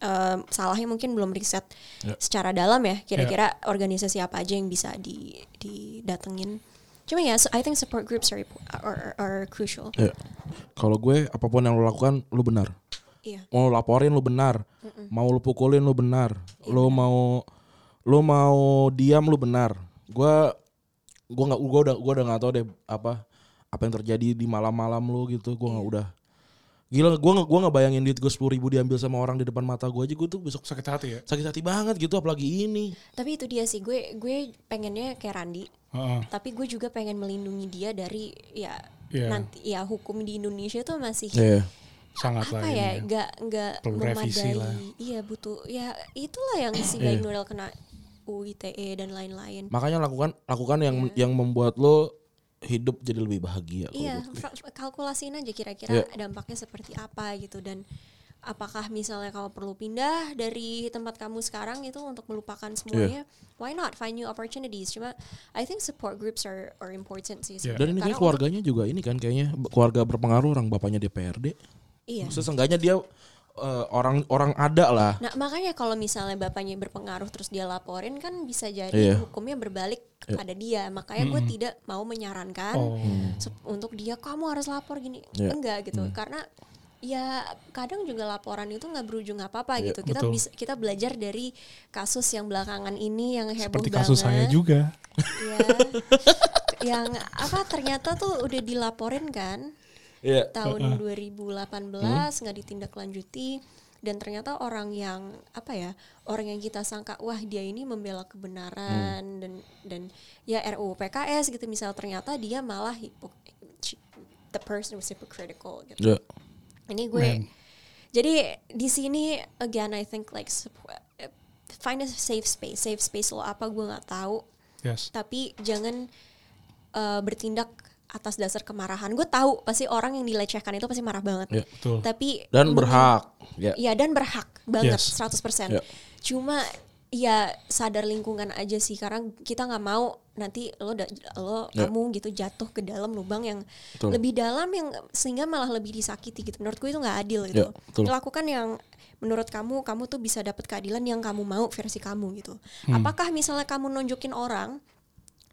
S2: eh, salahnya mungkin belum riset secara dalam ya, kira-kira organisasi apa aja yang bisa di didatengin. Cuma ya, so I think support groups are are, are crucial.
S1: Iya. Kalau gue apapun yang lo lakukan lu benar.
S2: Iya.
S1: Mau lu laporin lu benar. Mau lu pukulin lu benar. Lu mau lu mau diam lu benar. Gue gue nggak gue udah gue udah nggak tahu deh apa apa yang terjadi di malam-malam lu gitu. Gue nggak udah gila gue nggak gue nggak bayangin duit gue sepuluh ribu diambil sama orang di depan mata gue aja gue tuh besok
S3: Sakit hati ya.
S1: sakit hati banget gitu apalagi ini
S2: Tapi itu dia sih gue gue pengennya kayak Randi,
S3: Heeh.
S2: tapi gue juga pengen melindungi dia dari ya
S3: Iya.
S2: nanti ya hukum di Indonesia tuh masih
S1: Iya.
S3: Ya, Sangat lah
S2: apa ya
S3: ini ya.
S2: nggak nggak
S3: Perlu revisi
S2: memadai.
S3: lah. Iya.
S2: Iya butuh ya itulah yang si Baik Nuril kena UITE E dan lain-lain.
S1: makanya lakukan lakukan yang yang membuat lo hidup jadi lebih bahagia kalau
S2: Iya,
S1: menurut gue.
S2: fra- kalkulasiin aja kira-kira
S1: Iya.
S2: dampaknya seperti apa gitu dan apakah misalnya kamu perlu pindah dari tempat kamu sekarang itu untuk melupakan
S1: Iya.
S2: semuanya? Why not find new opportunities? Cuma I think support groups are are important sih.
S3: Iya.
S1: dan ini
S2: Karena
S1: kayaknya keluarganya juga ini kan kayaknya b- keluarga berpengaruh orang bapaknya DPRD
S2: untuk- Iya.
S1: maksudnya seenggaknya dia eh, orang orang ada lah
S2: Nah makanya kalau misalnya bapaknya berpengaruh terus dia laporin kan bisa jadi
S1: Iya.
S2: hukumnya berbalik kepada dia. Makanya gue tidak mau menyarankan
S3: Hmm. Oh.
S2: sup- untuk dia kamu harus lapor gini.
S1: Iya.
S2: Enggak gitu karena ya kadang juga laporan itu nggak berujung apa-apa
S1: Iya,
S2: gitu. Kita
S3: betul.
S2: bisa kita belajar dari kasus yang belakangan ini yang heboh
S3: Seperti
S2: banget.
S3: kasus saya juga. *laughs*
S2: Iya. yang apa ternyata tuh udah dilaporin kan
S1: Iya.
S2: tahun 2018 nggak ditindaklanjuti dan ternyata orang yang apa ya orang yang kita sangka wah dia ini membela kebenaran dan dan ya RUU PKS gitu misal ternyata dia malah hipo- the person was hypocritical gitu
S1: Iya.
S2: ini gue jadi di sini again I think like sup- eh, find a safe space safe space lo apa gue nggak tahu
S3: Yes.
S2: tapi jangan eh, bertindak atas dasar kemarahan. Gue tahu pasti orang yang dilecehkan itu pasti marah banget.
S1: Iya.
S3: Betul.
S2: Tapi
S1: dan
S2: mungkin-
S1: berhak ya
S2: Iya, dan berhak banget
S3: Yes.
S2: 100%.
S1: Iya.
S2: Cuma ya sadar lingkungan aja sih karena kita nggak mau nanti lo da- lo
S1: Iya.
S2: kamu gitu jatuh ke dalam lubang yang
S1: Betul.
S2: lebih dalam yang sehingga malah lebih disakiti gitu. Menurut gue itu nggak adil gitu.
S1: Iya, betul.
S2: Lakukan yang menurut kamu kamu tuh bisa dapat keadilan yang kamu mau versi kamu gitu.
S1: Hmm.
S2: Apakah misalnya kamu nunjukin orang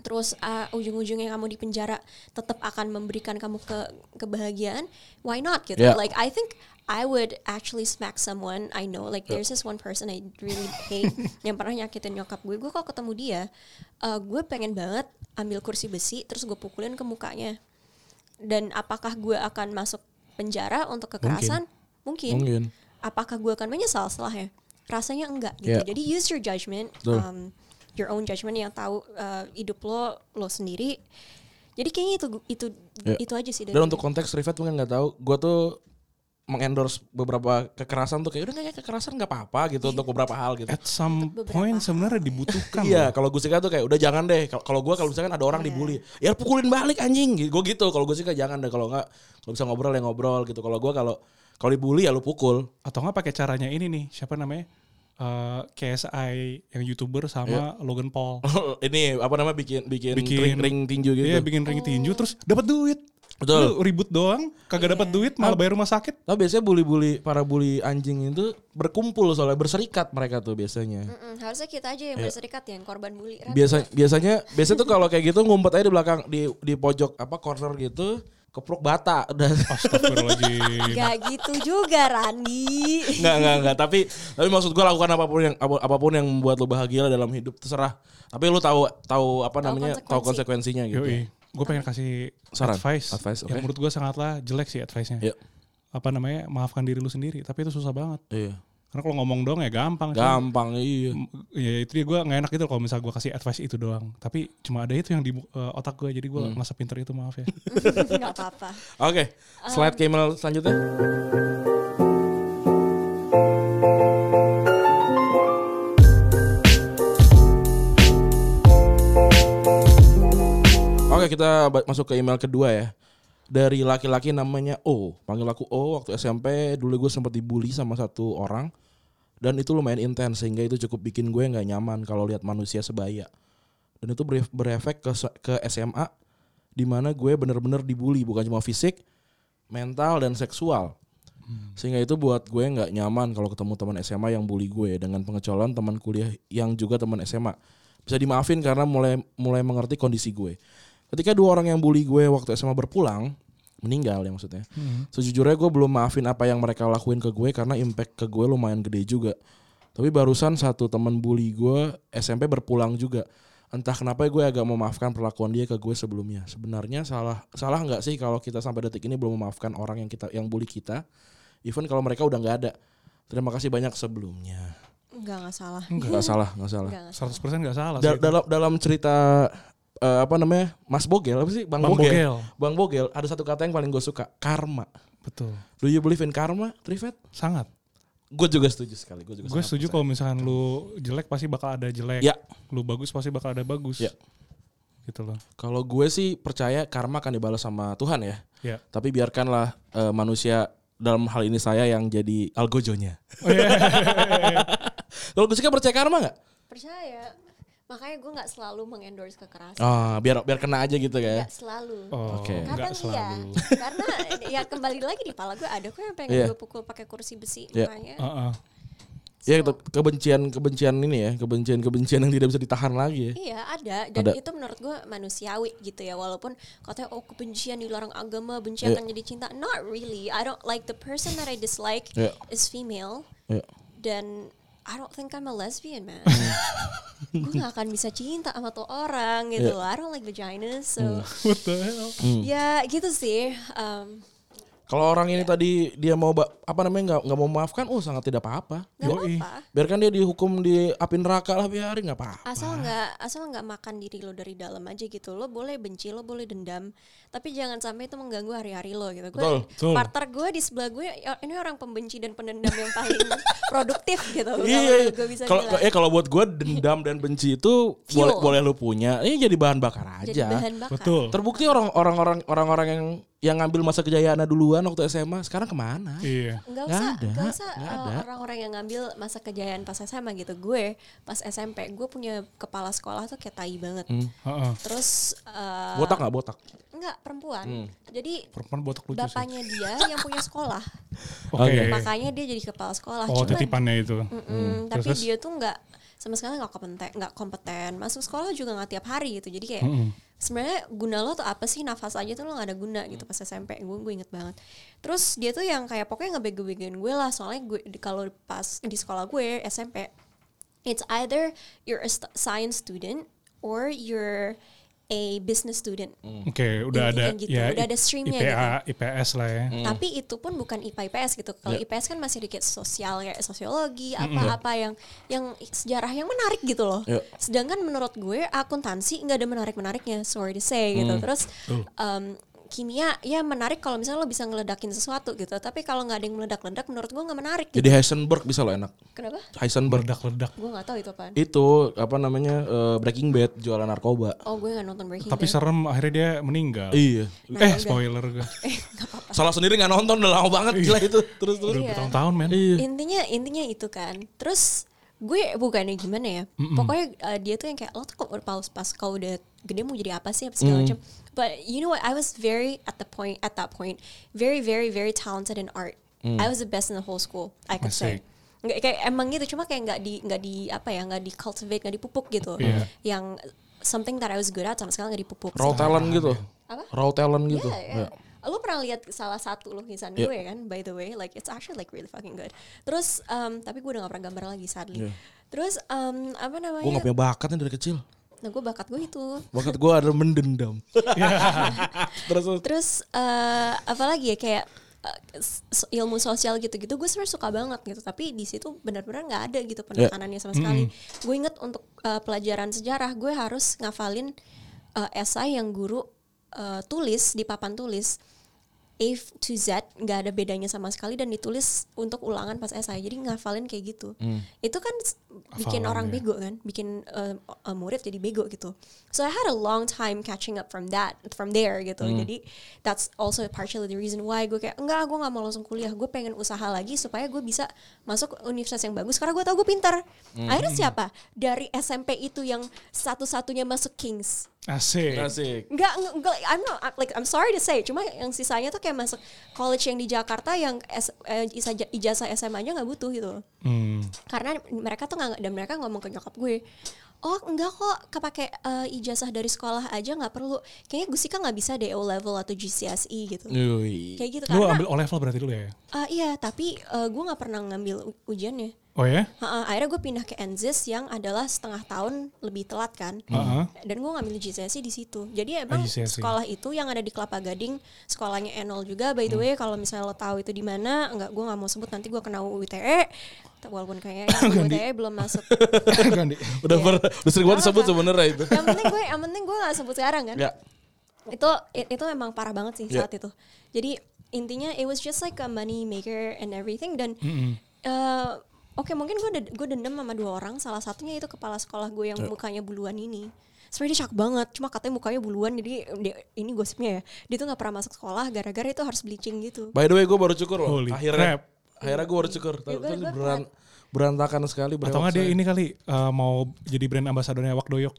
S2: terus uh, ujung-ujungnya kamu di penjara tetap akan memberikan kamu ke kebahagiaan why not gitu
S1: Yeah.
S2: like I think I would actually smack someone I know like there's this one person I really hate yang pernah nyakitin nyokap gue gue kalau ketemu dia uh, gue pengen banget ambil kursi besi terus gue pukulin ke mukanya dan apakah gue akan masuk penjara untuk kekerasan mungkin,
S1: mungkin
S2: apakah gue akan menyesal setelahnya? Rasanya enggak gitu.
S1: Yeah.
S2: Jadi use your judgment,
S1: Iya. Betul.
S2: um, your own judgment yang tahu uh, hidup lo lo sendiri. Jadi kayaknya itu itu
S1: Yeah.
S2: itu aja sih dari
S1: Iya. dan untuk konteks Rivet mungkin nggak tahu gue tuh mengendorse beberapa kekerasan tuh kayak udah kayak kekerasan nggak apa-apa
S2: Iya.
S1: gitu untuk beberapa hal gitu
S3: At some
S2: Beberapa.
S3: point sebenarnya dibutuhkan.
S1: Iya, kalau gue sih tuh kayak udah jangan deh. Kalau- Kalau gue kalau misalkan ada
S2: Iya.
S1: orang dibully, ya pukulin balik anjing. Gue gitu. Kalau gue sih kayak jangan deh. Kalau nggak, kalau bisa ngobrol ya ngobrol gitu. Kalau gue kalau kalau dibully ya lu pukul. *laughs*
S3: atau nggak pakai caranya ini nih siapa namanya Eh, KSI yang youtuber
S1: Iya.
S3: sama Logan Paul
S1: Ini apa namanya bikin bikin,
S3: Bikin- Iya,
S1: ring, ring tinju Oh, gitu.
S3: dia bikin ring tinju terus dapat duit
S1: Betul.
S3: Lu ribut doang, kagak dapat duit, malah bayar rumah sakit.
S1: Tapi biasanya bully-bully para bully anjing itu berkumpul soalnya berserikat mereka tuh biasanya.
S2: Mm-mm, harusnya kita aja
S1: Iya.
S2: yang berserikat ya, yang korban bully. Ran.
S1: Biasa biasanya biasanya tuh kalau kayak gitu ngumpet aja di belakang di di pojok apa corner gitu kepruk bata *laughs* udah
S2: *laughs*
S3: Astagfirullahaladzim.
S2: Gak gitu juga Randi.
S1: *laughs* nggak nggak nggak tapi tapi maksud gua lakukan apapun yang apa- apapun yang membuat lu bahagia dalam hidup terserah tapi lu tahu tahu apa namanya tahu konsekuensinya gitu
S3: Yoi. Gue pengen kasih
S1: Saran.
S3: advice,
S1: Advice, oke.
S3: yang menurut gue sangatlah jelek sih advice-nya.
S1: Iya.
S3: Apa namanya, maafkan diri lu sendiri. Tapi itu susah banget.
S1: iya
S3: Karena kalau ngomong doang ya gampang. sih.
S1: gampang iya
S3: M- Ya itu dia gue nggak enak gitu kalau misal gue kasih advice itu doang. Tapi cuma ada itu yang di eh, otak gue. Jadi gue
S1: Hmm.
S3: nggak sepinter itu maaf ya.
S2: Gak apa-apa.
S1: Oke, slide camel selanjutnya. Oke, kita ba- masuk ke email kedua ya. Dari laki-laki namanya O. Panggil aku O waktu SMP. Dulu gue sempat dibully sama satu orang. Dan itu lumayan intens sehingga itu cukup bikin gue nggak nyaman kalau lihat manusia sebaya. Dan itu beref- berefek ke, se- ke SMA dimana gue bener-bener dibully bukan cuma fisik, mental dan seksual. Sehingga itu buat gue nggak nyaman kalau ketemu teman SMA yang bully gue dengan pengecualian teman kuliah yang juga teman SMA. Bisa dimaafin karena mulai mulai mengerti kondisi gue. Ketika dua orang yang bully gue waktu SMA berpulang, meninggal ya maksudnya. Sejujurnya gue belum maafin apa yang mereka lakuin ke gue karena impact ke gue lumayan gede juga. Tapi barusan satu teman bully gue SMP berpulang juga. Entah kenapa gue agak memaafkan perlakuan dia ke gue sebelumnya. Sebenarnya salah salah nggak sih kalau kita sampai detik ini belum memaafkan orang yang kita yang bully kita, even kalau mereka udah nggak ada. Terima kasih banyak sebelumnya.
S2: Enggak, gak salah.
S1: Nggak salah, nggak salah.
S2: Enggak,
S3: 100% nggak salah
S1: Da-
S3: sih.
S1: dalam dalam cerita eh, apa namanya Mas Bogel apa sih Bang,
S3: Bang
S1: Bogel.
S3: Bogel.
S1: Bang Bogel ada satu kata yang paling gue suka karma.
S3: Betul.
S1: Do you believe in karma, Trivet?
S3: Sangat.
S1: Gue juga setuju sekali. Gue juga.
S3: Gue
S1: sangat
S3: setuju
S1: percaya.
S3: kalau misalkan lu jelek pasti bakal ada jelek.
S1: Ya.
S3: Lu bagus pasti bakal ada bagus.
S1: Ya.
S3: Gitu loh.
S1: Kalau gue sih percaya karma akan dibalas sama Tuhan ya.
S3: Ya.
S1: Tapi biarkanlah eh, manusia dalam hal ini saya yang jadi algojonya. *laughs* Kalau gue sih kan percaya karma nggak?
S2: Percaya. Makanya gue gak selalu mengendorse kekerasan.
S1: Ah, biar biar kena aja gitu ya.
S2: Gak selalu.
S3: Oh,
S1: Oke.
S3: nggak
S2: Kadang iya.
S3: selalu.
S2: Karena ya kembali lagi di pala gue ada kok yang pengen
S1: Iya.
S2: gue pukul pakai kursi besi.
S1: Iya.
S2: Makanya
S3: Heeh. *laughs*
S1: Ya itu kebencian kebencian ini ya, kebencian kebencian yang tidak bisa ditahan lagi ya.
S2: Iya ada dan
S1: Ada.
S2: itu menurut gue manusiawi gitu ya walaupun katanya oh kebencian dilarang agama benci
S1: Iya.
S2: akan jadi cinta not really I don't like the person that I dislike
S1: Iya.
S2: is female
S1: Ya.
S2: dan I don't think I'm a lesbian man
S1: Hmm.
S2: *laughs* gue gak akan bisa cinta sama tuh orang gitu
S1: Iya.
S2: loh. I don't like vaginas so
S1: Hmm.
S3: What the hell?
S2: ya gitu sih um,
S1: Kalau orang ini tadi dia mau ba- apa namanya nggak nggak mau maafkan, oh sangat tidak apa-apa.
S2: gak
S3: Yoi.
S2: apa-apa
S1: Biarkan dia dihukum di api neraka lah biarin nggak apa-apa.
S2: asal nggak asal nggak makan diri lo dari dalam aja gitu lo boleh benci lo boleh dendam tapi jangan sampai itu mengganggu hari-hari lo gitu
S1: Betul,
S2: gue partner gue di sebelah gue ya, ini orang pembenci dan pendendam yang paling
S1: *laughs*
S2: produktif gitu
S1: Iya,
S2: gue bisa
S1: kalau
S2: bilang.
S1: ya kalau buat gue dendam dan benci itu
S2: Fuel.
S1: boleh boleh lu punya. Ini jadi bahan bakar aja.
S2: jadi bahan bakar
S3: Betul.
S1: Terbukti orang- orang-orang orang-orang yang yang ngambil masa kejayaannya duluan waktu SMA sekarang kemana?
S3: Iya.
S2: Nggak
S1: Nggak
S2: usah,
S1: ada,
S2: nggak usah
S1: nggak
S2: uh,
S1: ada.
S2: orang-orang yang ngambil masa kejayaan pas SMA gitu. Gue pas SMP, gue punya kepala sekolah tuh kayak tai banget.
S3: Heeh.
S2: Terus uh,
S1: Hmm. Botak Hmm. nggak botak?
S2: nggak perempuan. Jadi
S3: Perempuan botak lucu sih.
S2: bapaknya dia yang punya sekolah.
S1: *laughs*
S3: Oke.
S2: Makanya dia jadi kepala sekolah.
S3: Oh, Hmm,
S2: Cuman-
S3: titipannya itu.
S2: Mm-mm, tapi
S3: Terus-terus?
S2: dia tuh nggak sama sekali nggak kompeten nggak kompeten masuk sekolah juga nggak tiap hari gitu jadi kayak sebenarnya guna lo tuh apa sih nafas aja tuh lo nggak ada guna gitu pas SMP gue gue inget banget terus dia tuh yang kayak pokoknya ngebego-begoin gue lah soalnya gue di- kalau pas di sekolah gue SMP it's either you're a st- science student or you're a business student
S3: Oke, udah ada
S2: Intinya gitu,
S3: ya
S2: udah ada streamnya
S3: IPA, IPS lah ya.
S1: Mm.
S2: tapi itu pun bukan IPA IPS gitu. Kalau IPS kan masih dikit sosial kayak sosiologi, apa-apa yang yang sejarah yang menarik gitu loh.
S1: Iya.
S2: Sedangkan menurut gue akuntansi nggak ada menarik-menariknya, sorry to say gitu. Terus em, kimia ya menarik kalau misalnya lo bisa ngeledakin sesuatu gitu. Tapi kalau nggak ada yang meledak-ledak menurut gue nggak menarik gitu.
S1: Jadi Heisenberg bisa lo enak.
S2: Kenapa?
S1: Heisenberg
S3: Berledak-ledak.
S2: Gue nggak tahu itu apaan.
S1: itu apa namanya eh, Breaking Bad jualan narkoba.
S2: Oh gue nggak nonton Breaking *laughs*
S3: Tapi
S2: Bad.
S3: serem akhirnya dia meninggal.
S1: Iya.
S2: Nah,
S3: eh, spoiler gue.
S2: Iya. Eh,
S1: Salah sendiri nggak
S3: Iya.
S1: nonton udah lama banget gila itu terus terus. Iya.
S3: Udah bertahun-tahun, men.
S2: Intinya intinya itu kan. Terus gue bukannya gimana ya pokoknya uh, dia tuh yang kayak lo tuh kok pas pas kau udah gede mau jadi apa sih apa segala macam but you know what I was very at the point at that point very very very talented in art I was the best in the whole school I could say
S3: Asik.
S2: nggak kayak emang gitu cuma kayak nggak di nggak di apa ya nggak di cultivate nggak dipupuk gitu
S3: Iya.
S2: yang something that I was good at sama sekali nggak dipupuk
S1: raw talent gitu
S2: Apa? Iya,
S1: raw talent gitu
S2: Yeah, yeah. Lo pernah lihat salah satu lukisan
S1: Yeah.
S2: gue kan, by the way, like it's actually like really fucking good. Terus, um, tapi gue udah gak pernah gambar lagi sadly.
S1: Yeah.
S2: Terus um, apa namanya?
S1: gue gak punya bakatnya dari kecil
S2: Nah gue bakat gue itu.
S1: bakat gue adalah mendendam *laughs* terus terus.
S2: Terus eh apa lagi ya kayak eh, s- ilmu sosial gitu-gitu gue sebenarnya suka banget gitu tapi di situ benar-benar nggak ada gitu penekanannya sama sekali gue inget untuk eh, pelajaran sejarah gue harus ngafalin eh, esai yang guru eh, tulis di papan tulis A to Z nggak ada bedanya sama sekali dan ditulis untuk ulangan pas esai jadi ngafalin kayak gitu itu kan s- bikin
S3: Hafalan,
S2: orang
S3: ya.
S2: bego kan bikin eh, eh, murid jadi bego gitu so I had a long time catching up from that from there gitu jadi that's also partially the reason why gue kayak enggak gue nggak mau langsung kuliah gue pengen usaha lagi supaya gue bisa masuk universitas yang bagus karena gue tau gue pintar akhirnya siapa dari SMP itu yang satu-satunya masuk Kings
S3: Asik.
S1: asik
S2: Nggak, nggak, nggak, I'm not, I'm- like, I'm sorry to say, cuma yang sisanya tuh kayak masuk college yang di Jakarta yang S- eh, isa- ijazah SMA-nya nggak butuh gitu.
S3: Hmm.
S2: Karena mereka tuh nggak, dan mereka ngomong ke nyokap gue, oh enggak kok, kepake eh, ijazah dari sekolah aja nggak perlu. Kayaknya Gusika nggak bisa DO level atau GCSE gitu.
S1: Yui.
S2: Kayak gitu,
S3: Lu
S2: karena
S3: ambil O level berarti dulu ya?
S2: ah, iya, tapi eh, gue nggak pernah ngambil u- ujiannya.
S3: Oh ya?
S2: Ha-ha, akhirnya gue pindah ke NZIS yang adalah setengah tahun lebih telat kan.
S1: Hmm. *laughs*
S3: Heeh.
S2: dan gue ngambil GCSE E di situ jadi emang
S3: Ah, GCSE.
S2: sekolah itu yang ada di Kelapa Gading sekolahnya Enol juga by the way kalau misalnya lo tahu itu di mana nggak gue nggak mau sebut nanti gue kena UITE E. walaupun kayaknya UITE E belum masuk
S3: Gandhi.
S1: udah per, udah sering banget disebut
S2: Gak gitu ya. apa-apa.
S1: sebenarnya itu
S2: yang penting gue yang penting gue nggak sebut sekarang kan
S1: ya
S2: itu i- itu memang parah banget sih
S1: Yeah.
S2: saat itu jadi intinya it was just like a money maker and everything dan eh, oke mungkin gue de- gue dendam sama dua orang salah satunya itu kepala sekolah gue yang mukanya buluan ini sebenarnya dia cakep banget cuma katanya mukanya buluan jadi eh, dia- ini gosipnya ya dia tuh nggak pernah masuk sekolah gara-gara itu harus bleaching gitu
S1: by the way gue baru cukur loh
S3: Holy
S1: akhirnya
S3: crap.
S1: akhirnya gue baru cukur Tadi-
S2: gua-
S1: tadi
S2: gua
S1: beran- berantakan sekali
S3: Atau nggak dia ini kali eh, mau jadi brand ambasadornya Wak Doyok.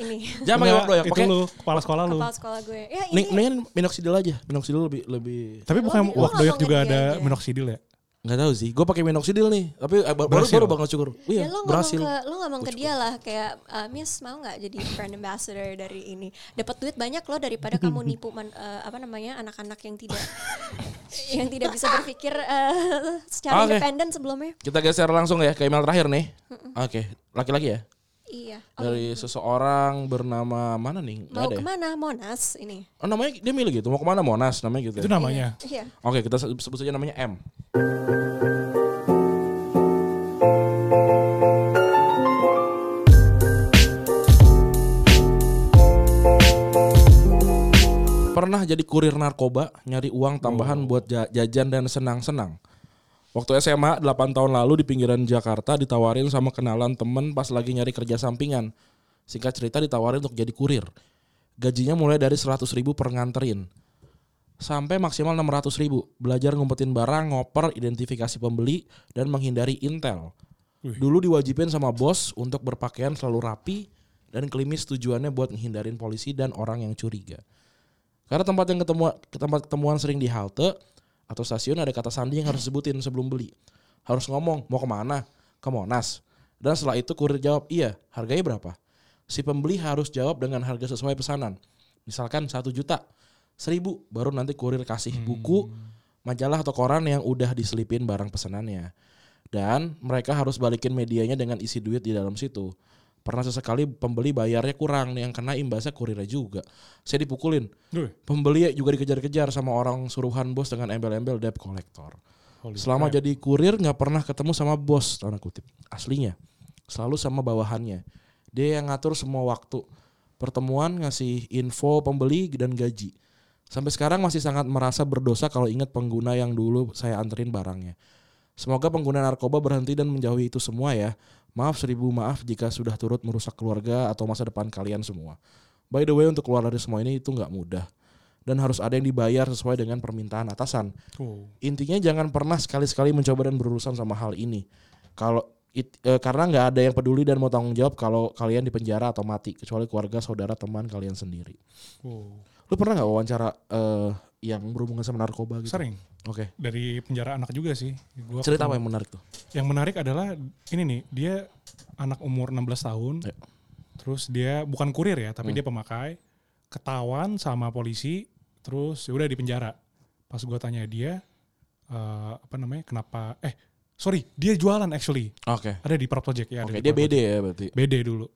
S2: ini
S1: jangan pakai waktu ya
S3: Itu
S1: pakai
S3: lu, kepala sekolah lu.
S2: kepala sekolah gue ya
S1: Nih,
S2: ini
S1: mendingan minoxidil aja. Minoxidil lebih lebih
S3: Tapi bukan
S2: Lu- lu
S3: Wak Doyok
S2: ngomongin
S3: juga
S2: dia
S3: ada
S2: aja.
S3: minoxidil ya?
S1: nggak tahu sih. Gue pakai minoxidil nih, tapi eh, ba- baru
S3: Berhasil.
S1: baru banget cukur.
S2: Ya,
S1: Iya,
S2: lo ngomong
S1: berhasil.
S2: ke lo ngomong ke dia lah kayak "Eh, Miss mau nggak jadi brand ambassador dari ini dapat duit banyak lo
S1: *laughs*
S2: daripada kamu nipu man- eh, apa namanya anak-anak yang tidak *laughs* yang tidak bisa berpikir eh,
S1: Oke.
S2: secara independen sebelumnya
S1: Kita geser langsung ya ke email terakhir nih. Oke, laki-laki ya.
S2: iya Oh,
S1: Dari seseorang bernama mana nih? Nggak
S2: mau
S1: ada ya?
S2: kemana Monas ini
S1: Oh, namanya dia milih gitu. Mau kemana Monas namanya gitu.
S3: Itu
S1: ya?
S3: namanya.
S2: iya
S1: Oke, kita se- sebut saja namanya M. Pernah jadi kurir narkoba, nyari uang tambahan buat ja- jajan dan senang-senang. Waktu SMA 8 tahun lalu di pinggiran Jakarta ditawarin sama kenalan temen pas lagi nyari kerja sampingan. Singkat cerita ditawarin untuk jadi kurir. Gajinya mulai dari 100 ribu per nganterin sampai maksimal 600 ribu. Belajar ngumpetin barang, ngoper, identifikasi pembeli, dan menghindari intel. Dulu diwajibin sama bos untuk berpakaian selalu rapi dan klimis tujuannya buat menghindarin polisi dan orang yang curiga. Karena tempat yang ketemu ke tempat ketemuan sering di halte atau stasiun ada kata sandi yang harus sebutin sebelum beli. Harus ngomong mau kemana? Ke Monas. Dan setelah itu kurir jawab iya. Harganya berapa? Si pembeli harus jawab dengan harga sesuai pesanan. Misalkan satu juta, seribu baru nanti kurir kasih buku, majalah atau koran yang udah diselipin barang pesanannya. Dan mereka harus balikin medianya dengan isi duit di dalam situ. Pernah sesekali pembeli bayarnya kurang yang kena imbasnya kurirnya juga. Saya dipukulin.
S3: Duh.
S1: Pembeli juga dikejar-kejar sama orang suruhan bos dengan embel-embel debt collector. Selama jadi kurir nggak pernah ketemu sama bos, tanda kutip. Aslinya. Selalu sama bawahannya. Dia yang ngatur semua waktu. Pertemuan ngasih info pembeli dan gaji. Sampai sekarang masih sangat merasa berdosa kalau ingat pengguna yang dulu saya anterin barangnya. Semoga pengguna narkoba berhenti dan menjauhi itu semua ya. Maaf seribu maaf jika sudah turut merusak keluarga atau masa depan kalian semua. By the way untuk keluar dari semua ini itu nggak mudah. Dan harus ada yang dibayar sesuai dengan permintaan atasan.
S3: Oh.
S1: Intinya jangan pernah sekali-sekali mencoba dan berurusan sama hal ini. Kalau It- eh, karena nggak ada yang peduli dan mau tanggung jawab kalau kalian dipenjara atau mati kecuali keluarga, saudara, teman kalian sendiri.
S3: Wow.
S1: Lu pernah nggak wawancara eh, yang berhubungan sama narkoba gitu?
S3: Sering
S1: Oke.
S3: dari penjara anak juga sih. Gua
S1: Cerita apa yang menarik tuh?
S3: Yang menarik adalah ini nih, dia anak umur 16 tahun.
S1: Ya.
S3: Terus dia bukan kurir ya,
S1: Hmm.
S3: tapi dia pemakai. Ketahuan sama polisi, terus ya udah di penjara. Pas gua tanya dia eh, apa namanya? Kenapa eh sorry, dia jualan actually.
S1: Oke.
S3: Ada di Prop Project ya, ada
S1: Oke,
S3: di
S1: dia
S3: Prop
S1: BD ya berarti.
S3: Project. BD dulu.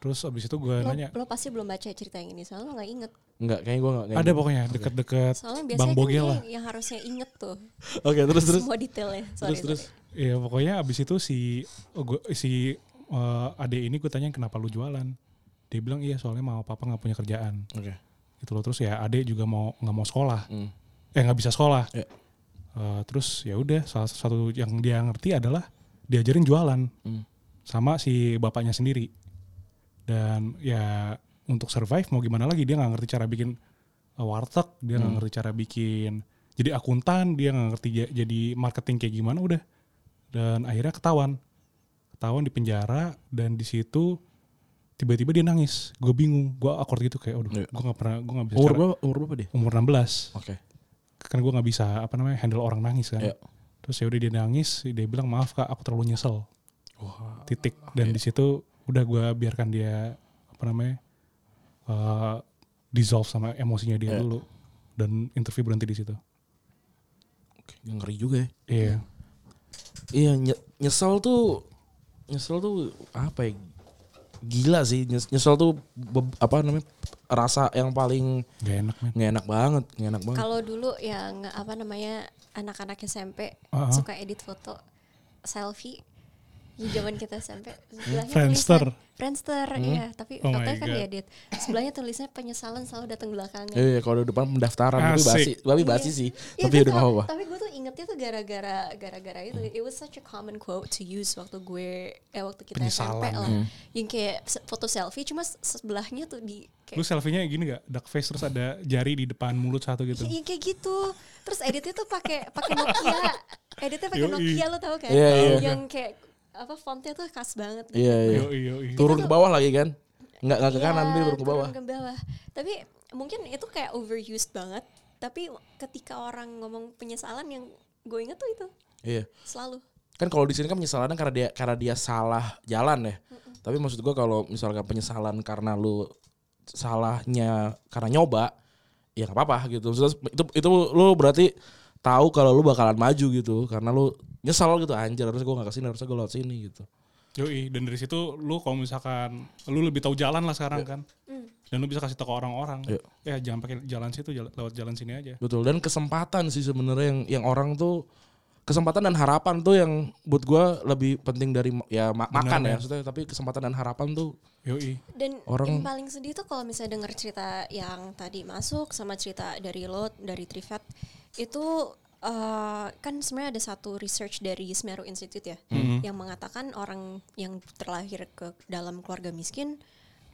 S3: Terus abis itu gua
S2: Lo,
S3: nanya,
S2: lo pasti belum baca cerita yang ini, soalnya lo gak inget.
S1: Enggak, kayaknya gua enggak.
S3: ada pokoknya deket-deket
S2: Soalnya
S3: Bang
S2: biasanya kan
S3: Bogel
S2: dia
S3: lah.
S2: yang harusnya inget tuh
S1: Oke, terus terus.
S2: semua detailnya. Sorry,
S1: Terus terus.
S2: sorry.
S3: Iya pokoknya abis itu si oh, gua, si eh, adek ini gue tanya kenapa lu jualan. Dia bilang iya soalnya mau papa nggak punya kerjaan
S1: Oke.
S3: gitu loh. Terus ya adek juga mau nggak mau sekolah,
S1: Hmm.
S3: eh nggak bisa sekolah.
S1: Iya.
S3: Eh, terus ya udah salah satu yang dia ngerti adalah diajarin jualan
S1: Hmm.
S3: sama si bapaknya sendiri. Dan ya untuk survive mau gimana lagi dia nggak ngerti cara bikin eh, warteg, dia
S1: Hmm.
S3: nggak ngerti cara bikin jadi akuntan, dia nggak ngerti ja- jadi marketing kayak gimana udah. Dan akhirnya ketahuan, ketahuan di penjara dan di situ tiba-tiba dia nangis. Gue bingung, gue akord gitu kayak, aduh,
S1: Iya.
S3: gue nggak pernah, gue nggak bisa.
S1: Umur
S3: cara-
S1: berapa? Umur berapa dia?
S3: umur 16
S1: Oke.
S3: kan gue nggak bisa apa namanya handle orang nangis kan
S1: Iya.
S3: terus ya udah dia nangis dia bilang maaf kak aku terlalu nyesel titik
S1: Ah, iya.
S3: dan di situ udah gue biarkan dia apa namanya eh, dissolve sama emosinya dia
S1: Iya.
S3: dulu dan interview berhenti di situ
S1: Oke, ngeri juga ya.
S3: iya
S1: Iya, nye- nyesel tuh nyesel tuh apa ya? Gila sih, nyes- nyesel tuh be- apa namanya? rasa yang paling
S3: gak enak men
S1: nggak enak banget, nggak
S3: Oh,
S1: enak banget.
S2: Kalau dulu yang apa namanya anak-anak SMP
S3: Uh-huh.
S2: suka edit foto selfie di zaman kita SMP sebelahnya
S3: Friendster.
S2: tulisan- Friendster iya tapi
S3: Oh my
S2: fotonya kan
S3: God.
S2: diedit sebelahnya tulisannya penyesalan selalu datang belakangan
S1: Iya, kalau di depan pendaftaran tapi
S3: Asik.
S1: basi, tapi basi
S2: Iya.
S1: sih.
S2: Iya,
S1: tapi ya
S2: gua
S1: udah nggak
S2: tau.
S1: apa-apa.
S2: Tapi gue tuh ingetnya tuh gara-gara gara-gara itu. It was such a common quote to use waktu gue eh waktu kita SMP
S3: Penyesalan,
S2: lah.
S1: Hmm.
S2: Yang kayak se- foto selfie cuma se- sebelahnya tuh di kayak
S3: lu selfie-nya gini gak dark face terus ada jari di depan mulut satu gitu
S2: Iya kayak gitu. Terus editnya tuh pakai pakai Nokia. Editnya pakai
S3: Yoi.
S2: Nokia lo tau kan?
S1: Iya, iya.
S2: Yang kayak apa fontnya tuh khas banget. gitu.
S1: Iya, iya.
S3: yo yo yo
S1: Turun ke bawah lagi kan? Nggak nggak ke
S2: Iya,
S1: kanan, dia turun ke bawah.
S2: turun ke bawah. Tapi mungkin itu kayak overused banget. Tapi ketika orang ngomong penyesalan yang gue inget tuh itu
S1: Iya.
S2: selalu.
S1: kan kalau di sini kan penyesalannya karena dia karena dia salah jalan ya. Tapi maksud gua kalau misalkan penyesalan karena lu salahnya karena nyoba, ya nggak apa-apa gitu. Maksudnya itu itu lu berarti tahu kalau lu bakalan maju gitu karena lu nyesal gitu anjir harusnya gua nggak kesini harusnya gua lewat sini gitu.
S3: Yoi, dan dari situ lu kalau misalkan lu lebih tahu jalan lah sekarang kan.
S2: Hmm.
S3: Dan lu bisa kasih tahu ke orang-orang.
S1: Iya.
S3: Ya jangan pakai jalan situ, jala- lewat jalan sini aja.
S1: Betul dan kesempatan sih sebenarnya yang yang orang tuh kesempatan dan harapan tuh yang buat gua lebih penting dari ma- ya ma-
S3: Benar,
S1: makan
S3: ya.
S1: ya maksudnya tapi kesempatan dan harapan tuh
S3: Yoi.
S2: Dan
S1: Orang-
S2: yang paling sedih tuh kalau misalnya denger cerita yang tadi masuk sama cerita dari lo dari Trivet itu eh, kan sebenarnya ada satu research dari Semeru Institute ya
S3: Hmm.
S2: yang mengatakan orang yang terlahir ke dalam keluarga miskin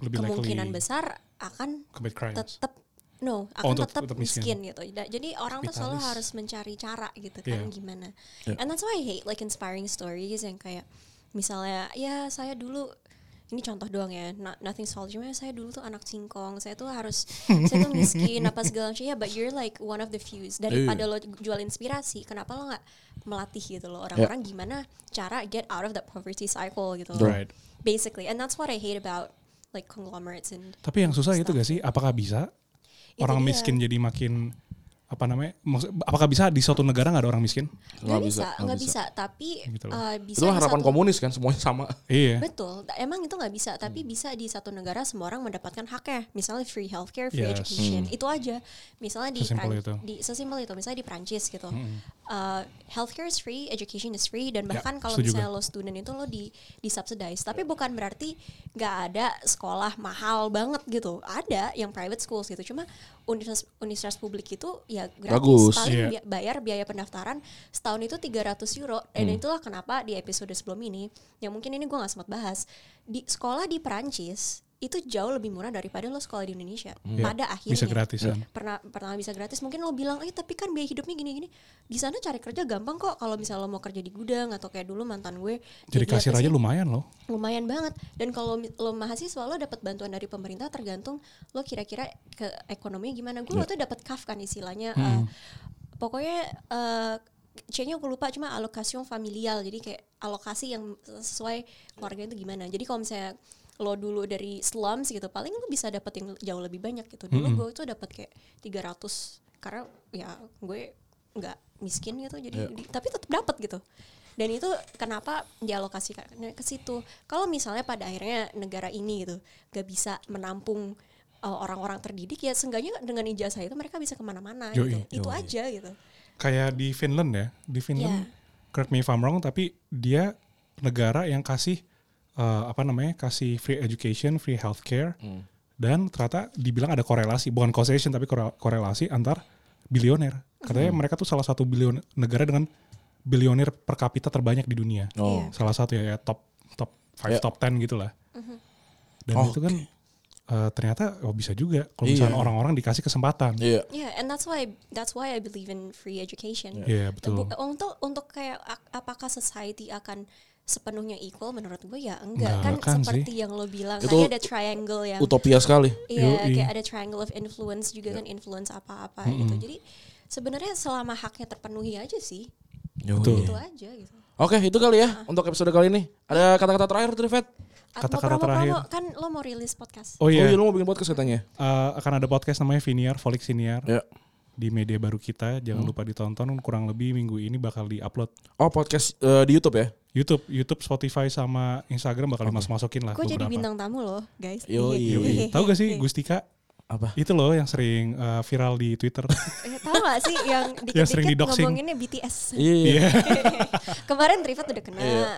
S3: Lebih
S2: kemungkinan
S3: likely
S2: besar akan
S3: commit crimes.
S2: tetap no
S3: Oh,
S2: akan tetap
S3: tetep- tetep miskin.
S2: miskin gitu Da- jadi orang tuh selalu
S3: Kapitalis.
S2: harus mencari cara gitu kan
S3: Iya.
S2: gimana and that's why I hate like inspiring stories yang kayak misalnya ya saya dulu ini contoh doang ya not, nothing solid cuma saya dulu tuh anak singkong saya tuh harus saya tuh miskin
S3: *laughs*
S2: apa segala macam ya but you're like one of the few
S3: Iya.
S2: daripada lo jual inspirasi kenapa lo nggak melatih gitu lo
S3: Iya.
S2: orang-orang gimana cara get out of that poverty cycle gitu loh.
S3: Right.
S2: basically and that's what I hate about like conglomerates and
S3: Tapi yang susah itu gak sih? Apakah bisa
S2: Itu
S3: orang
S2: dia.
S3: miskin jadi makin apa namanya? maksud- apakah bisa di suatu negara nggak ada orang miskin?
S2: Gak
S1: Nggak bisa,
S2: bisa,
S1: nggak
S2: nggak bisa. Tapi
S3: Gitu loh.
S2: eh, bisa
S1: itu
S2: di
S1: harapan
S2: satu-
S1: komunis kan semuanya sama.
S3: Iya.
S2: Betul, ta- emang itu nggak bisa. Tapi
S1: Hmm.
S2: bisa di satu negara semua orang mendapatkan haknya. Misalnya free healthcare, free
S3: Yes.
S2: education,
S1: Hmm.
S2: itu aja. Misalnya di,
S3: Sesimpel
S2: Pran-
S3: itu. Hmm.
S2: di sesimpel itu. Misalnya di Prancis gitu, Eh, healthcare is free, education is free, dan
S3: Ya,
S2: bahkan kalau
S3: setuju
S2: misalnya lo student itu lo di di subsidize. Tapi bukan berarti nggak ada sekolah mahal banget gitu. Ada yang private schools gitu. Cuma universitas universitas publik itu ya gratis.
S1: Bagus.
S2: Paling
S3: Iya.
S2: bi- bayar biaya pendaftaran setahun itu 300 euro dan
S3: Hmm.
S2: itulah kenapa di episode sebelum ini yang mungkin ini gue nggak sempat bahas di sekolah di Perancis itu jauh lebih murah daripada lo sekolah di Indonesia
S3: Iya,
S2: pada akhirnya
S3: bisa ya. gratisan.
S2: pernah pernah bisa gratis mungkin lo bilang eh tapi kan biaya hidupnya gini gini di sana cari kerja gampang kok kalau misalnya lo mau kerja di gudang atau kayak dulu mantan gue
S3: Jadi
S2: di atas
S3: kasir aja lumayan loh.
S2: lumayan banget dan kalau mi- lo mahasiswa lo dapat bantuan dari pemerintah tergantung lo kira-kira ke ekonominya gimana
S3: Ya.
S2: gue waktu itu dapat kaf kan istilahnya eh,
S3: Hmm.
S2: pokoknya eh, C-nya gue lupa cuma alokasi familial jadi kayak alokasi yang sesuai keluarga itu gimana jadi kalau misalnya lo dulu dari slums gitu paling lo bisa dapetin jauh lebih banyak gitu dulu gue itu dapat kayak 300 karena ya gue nggak miskin gitu jadi di- tapi tetap dapat gitu dan itu kenapa dialokasikan ke situ kalau misalnya pada akhirnya negara ini gitu gak bisa menampung uh, orang-orang terdidik ya seenggaknya dengan ijazah itu mereka bisa kemana-mana gitu.
S3: Yoi,
S2: itu
S1: yoi.
S2: aja gitu
S3: Kayak di Finland ya. Di Finland, correct me if I'm wrong, tapi dia negara yang kasih eh, apa namanya? kasih free education, free healthcare
S1: Hmm.
S3: dan ternyata dibilang ada korelasi, bukan causation tapi kore- korelasi antar bilioner. Katanya
S1: Hmm.
S3: mereka tuh salah satu bilion negara dengan bilioner per kapita terbanyak di dunia.
S1: Oh.
S2: Iya.
S3: salah satu ya, ya top top
S1: Ya.
S3: five top ten gitulah dan
S1: Oh,
S3: itu kan eh, ternyata oh bisa juga kalau
S1: Iya.
S3: misalnya orang-orang dikasih kesempatan
S1: Iya.
S2: yeah Ya, and that's why that's why I believe in free education
S3: Iya, betul.
S2: Bu- untuk untuk kayak ak- apakah society akan sepenuhnya equal menurut gue ya enggak
S3: Enggak
S2: kan,
S3: kan
S2: seperti yang lo bilang
S1: Itu
S2: tadi ada triangle yang
S1: Utopia sekali.
S2: Iya,
S3: Yoi. Ya.
S2: kayak ada triangle of influence juga kan influence apa-apa gitu. Jadi sebenarnya selama haknya terpenuhi aja sih,
S3: Betul.
S2: itu aja gitu.
S1: Oke, itu kali ya untuk episode kali ini. Ada kata-kata terakhir tuh, Vet?
S2: Atau
S3: Kata-kata
S2: promo-promo
S3: terakhir.
S2: kan lo mau rilis podcast.
S1: Oh
S3: oh iya
S1: iya, lu mau bikin podcast katanya?
S3: eh, akan ada podcast namanya Viniar Volik Siniar
S1: Ya. Hmm.
S3: di media baru kita jangan lupa ditonton kurang lebih minggu ini bakal diupload
S1: Oh, podcast eh, di YouTube ya?
S3: YouTube YouTube Spotify sama Instagram bakal dimasuk masukin lah
S2: Gue jadi
S3: beberapa.
S2: bintang tamu loh, guys. Iya.
S1: Yoi.
S3: Yoi. tahu gak sih Gustika
S1: Apa?
S3: itu loh yang sering eh, viral di
S1: *laughs*
S3: Twitter
S2: Eh, Tahu gak sih yang
S3: *laughs* Yang sering
S2: dikit-dikit
S3: didoxing.
S2: ngomonginnya BTS.
S1: Iya.
S2: Kemarin Trivet udah kena.
S1: Iya.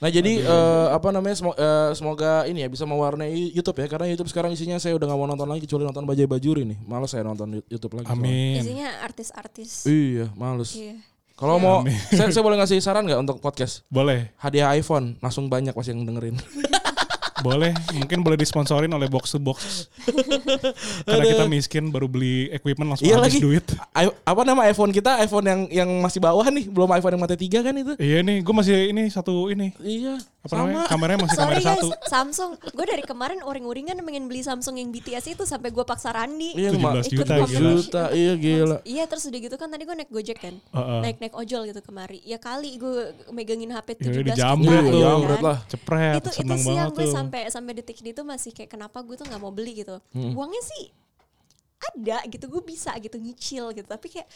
S1: Nah jadi eh, apa namanya semo- eh, semoga ini ya bisa mewarnai YouTube ya karena YouTube sekarang isinya saya udah nggak mau nonton lagi kecuali nonton Bajai Bajuri nih. Males saya nonton YouTube lagi.
S3: amin
S2: Isinya artis-artis.
S1: soalnya. Iya, males.
S2: Iya.
S1: Kalau mau *laughs* saya, saya boleh ngasih saran nggak untuk podcast?
S3: boleh
S1: Hadiah iPhone langsung banyak pasti yang dengerin.
S3: boleh mungkin boleh disponsorin oleh box to
S2: *laughs*
S3: box karena kita miskin baru beli equipment langsung
S1: Iya
S3: habis
S1: lagi.
S3: duit
S1: I- apa nama iPhone kita? iPhone yang yang masih bawah nih, belum iPhone yang mati tiga kan itu?
S3: iya nih gue masih ini satu ini
S1: Iya.
S3: apa namanya
S1: sama.
S3: kameranya masih kamera
S2: Sorry guys,
S3: satu
S2: Samsung. Gue dari kemarin uring-uringan pengen beli Samsung yang BTS itu sampai gue paksa Randi.
S1: Iya, ma-
S2: ikut
S3: 17 juta gila
S2: kompetisi.
S1: juta. Iya gila.
S2: Iya terus udah gitu kan tadi gue naik gojek kan
S3: Heeh.
S2: Naik-naik ojol gitu kemari Ya kali gue megangin HP
S3: Ya,
S2: 17
S3: dijamret
S2: juta,
S3: tuh.
S2: ya kan?
S1: Jamret Iya, lah.
S3: cepret
S2: Itu, itu
S3: seneng
S2: siang
S3: banget
S2: gue
S3: tuh
S2: sampai sampai detik ini tuh masih kayak kenapa gue tuh gak mau beli gitu
S3: Hmm.
S2: Uangnya sih ada gitu gue bisa gitu nyicil gitu Tapi kayak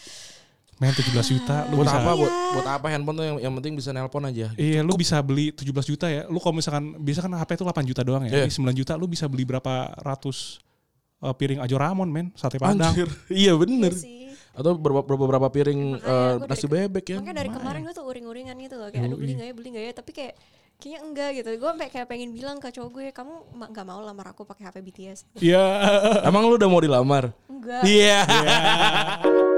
S3: main 17 juta lu
S1: Buat
S3: bisa
S1: apa? Buat,
S2: Iya.
S1: buat apa handphone tuh yang, yang penting bisa nelpon aja.
S3: Iya, lu bisa beli 17 juta ya. Lu kalau misalkan bisa kan HP itu 8 juta doang
S1: Iya.
S3: ya. Di 9 juta lu bisa beli berapa ratus eh, piring ajo ramon men, sate padang.
S1: Anjir. *laughs* Iya bener.
S2: gitu sih
S1: Atau beberapa, beberapa piring
S2: Makanya
S1: eh,
S2: gua
S1: nasi
S2: dari-
S1: bebek ya.
S2: Makanya dari kemarin gue tuh uring-uringan gitu loh Kayak aduh beli gak ya beli gak ya Tapi kayak kayaknya enggak gitu Gue sampai kayak pengen bilang ke cowok gue Kamu ma- gak mau lamar aku pakai HP BTS
S3: Iya.
S1: *laughs* Emang lu udah mau dilamar?
S2: Enggak
S1: Iya.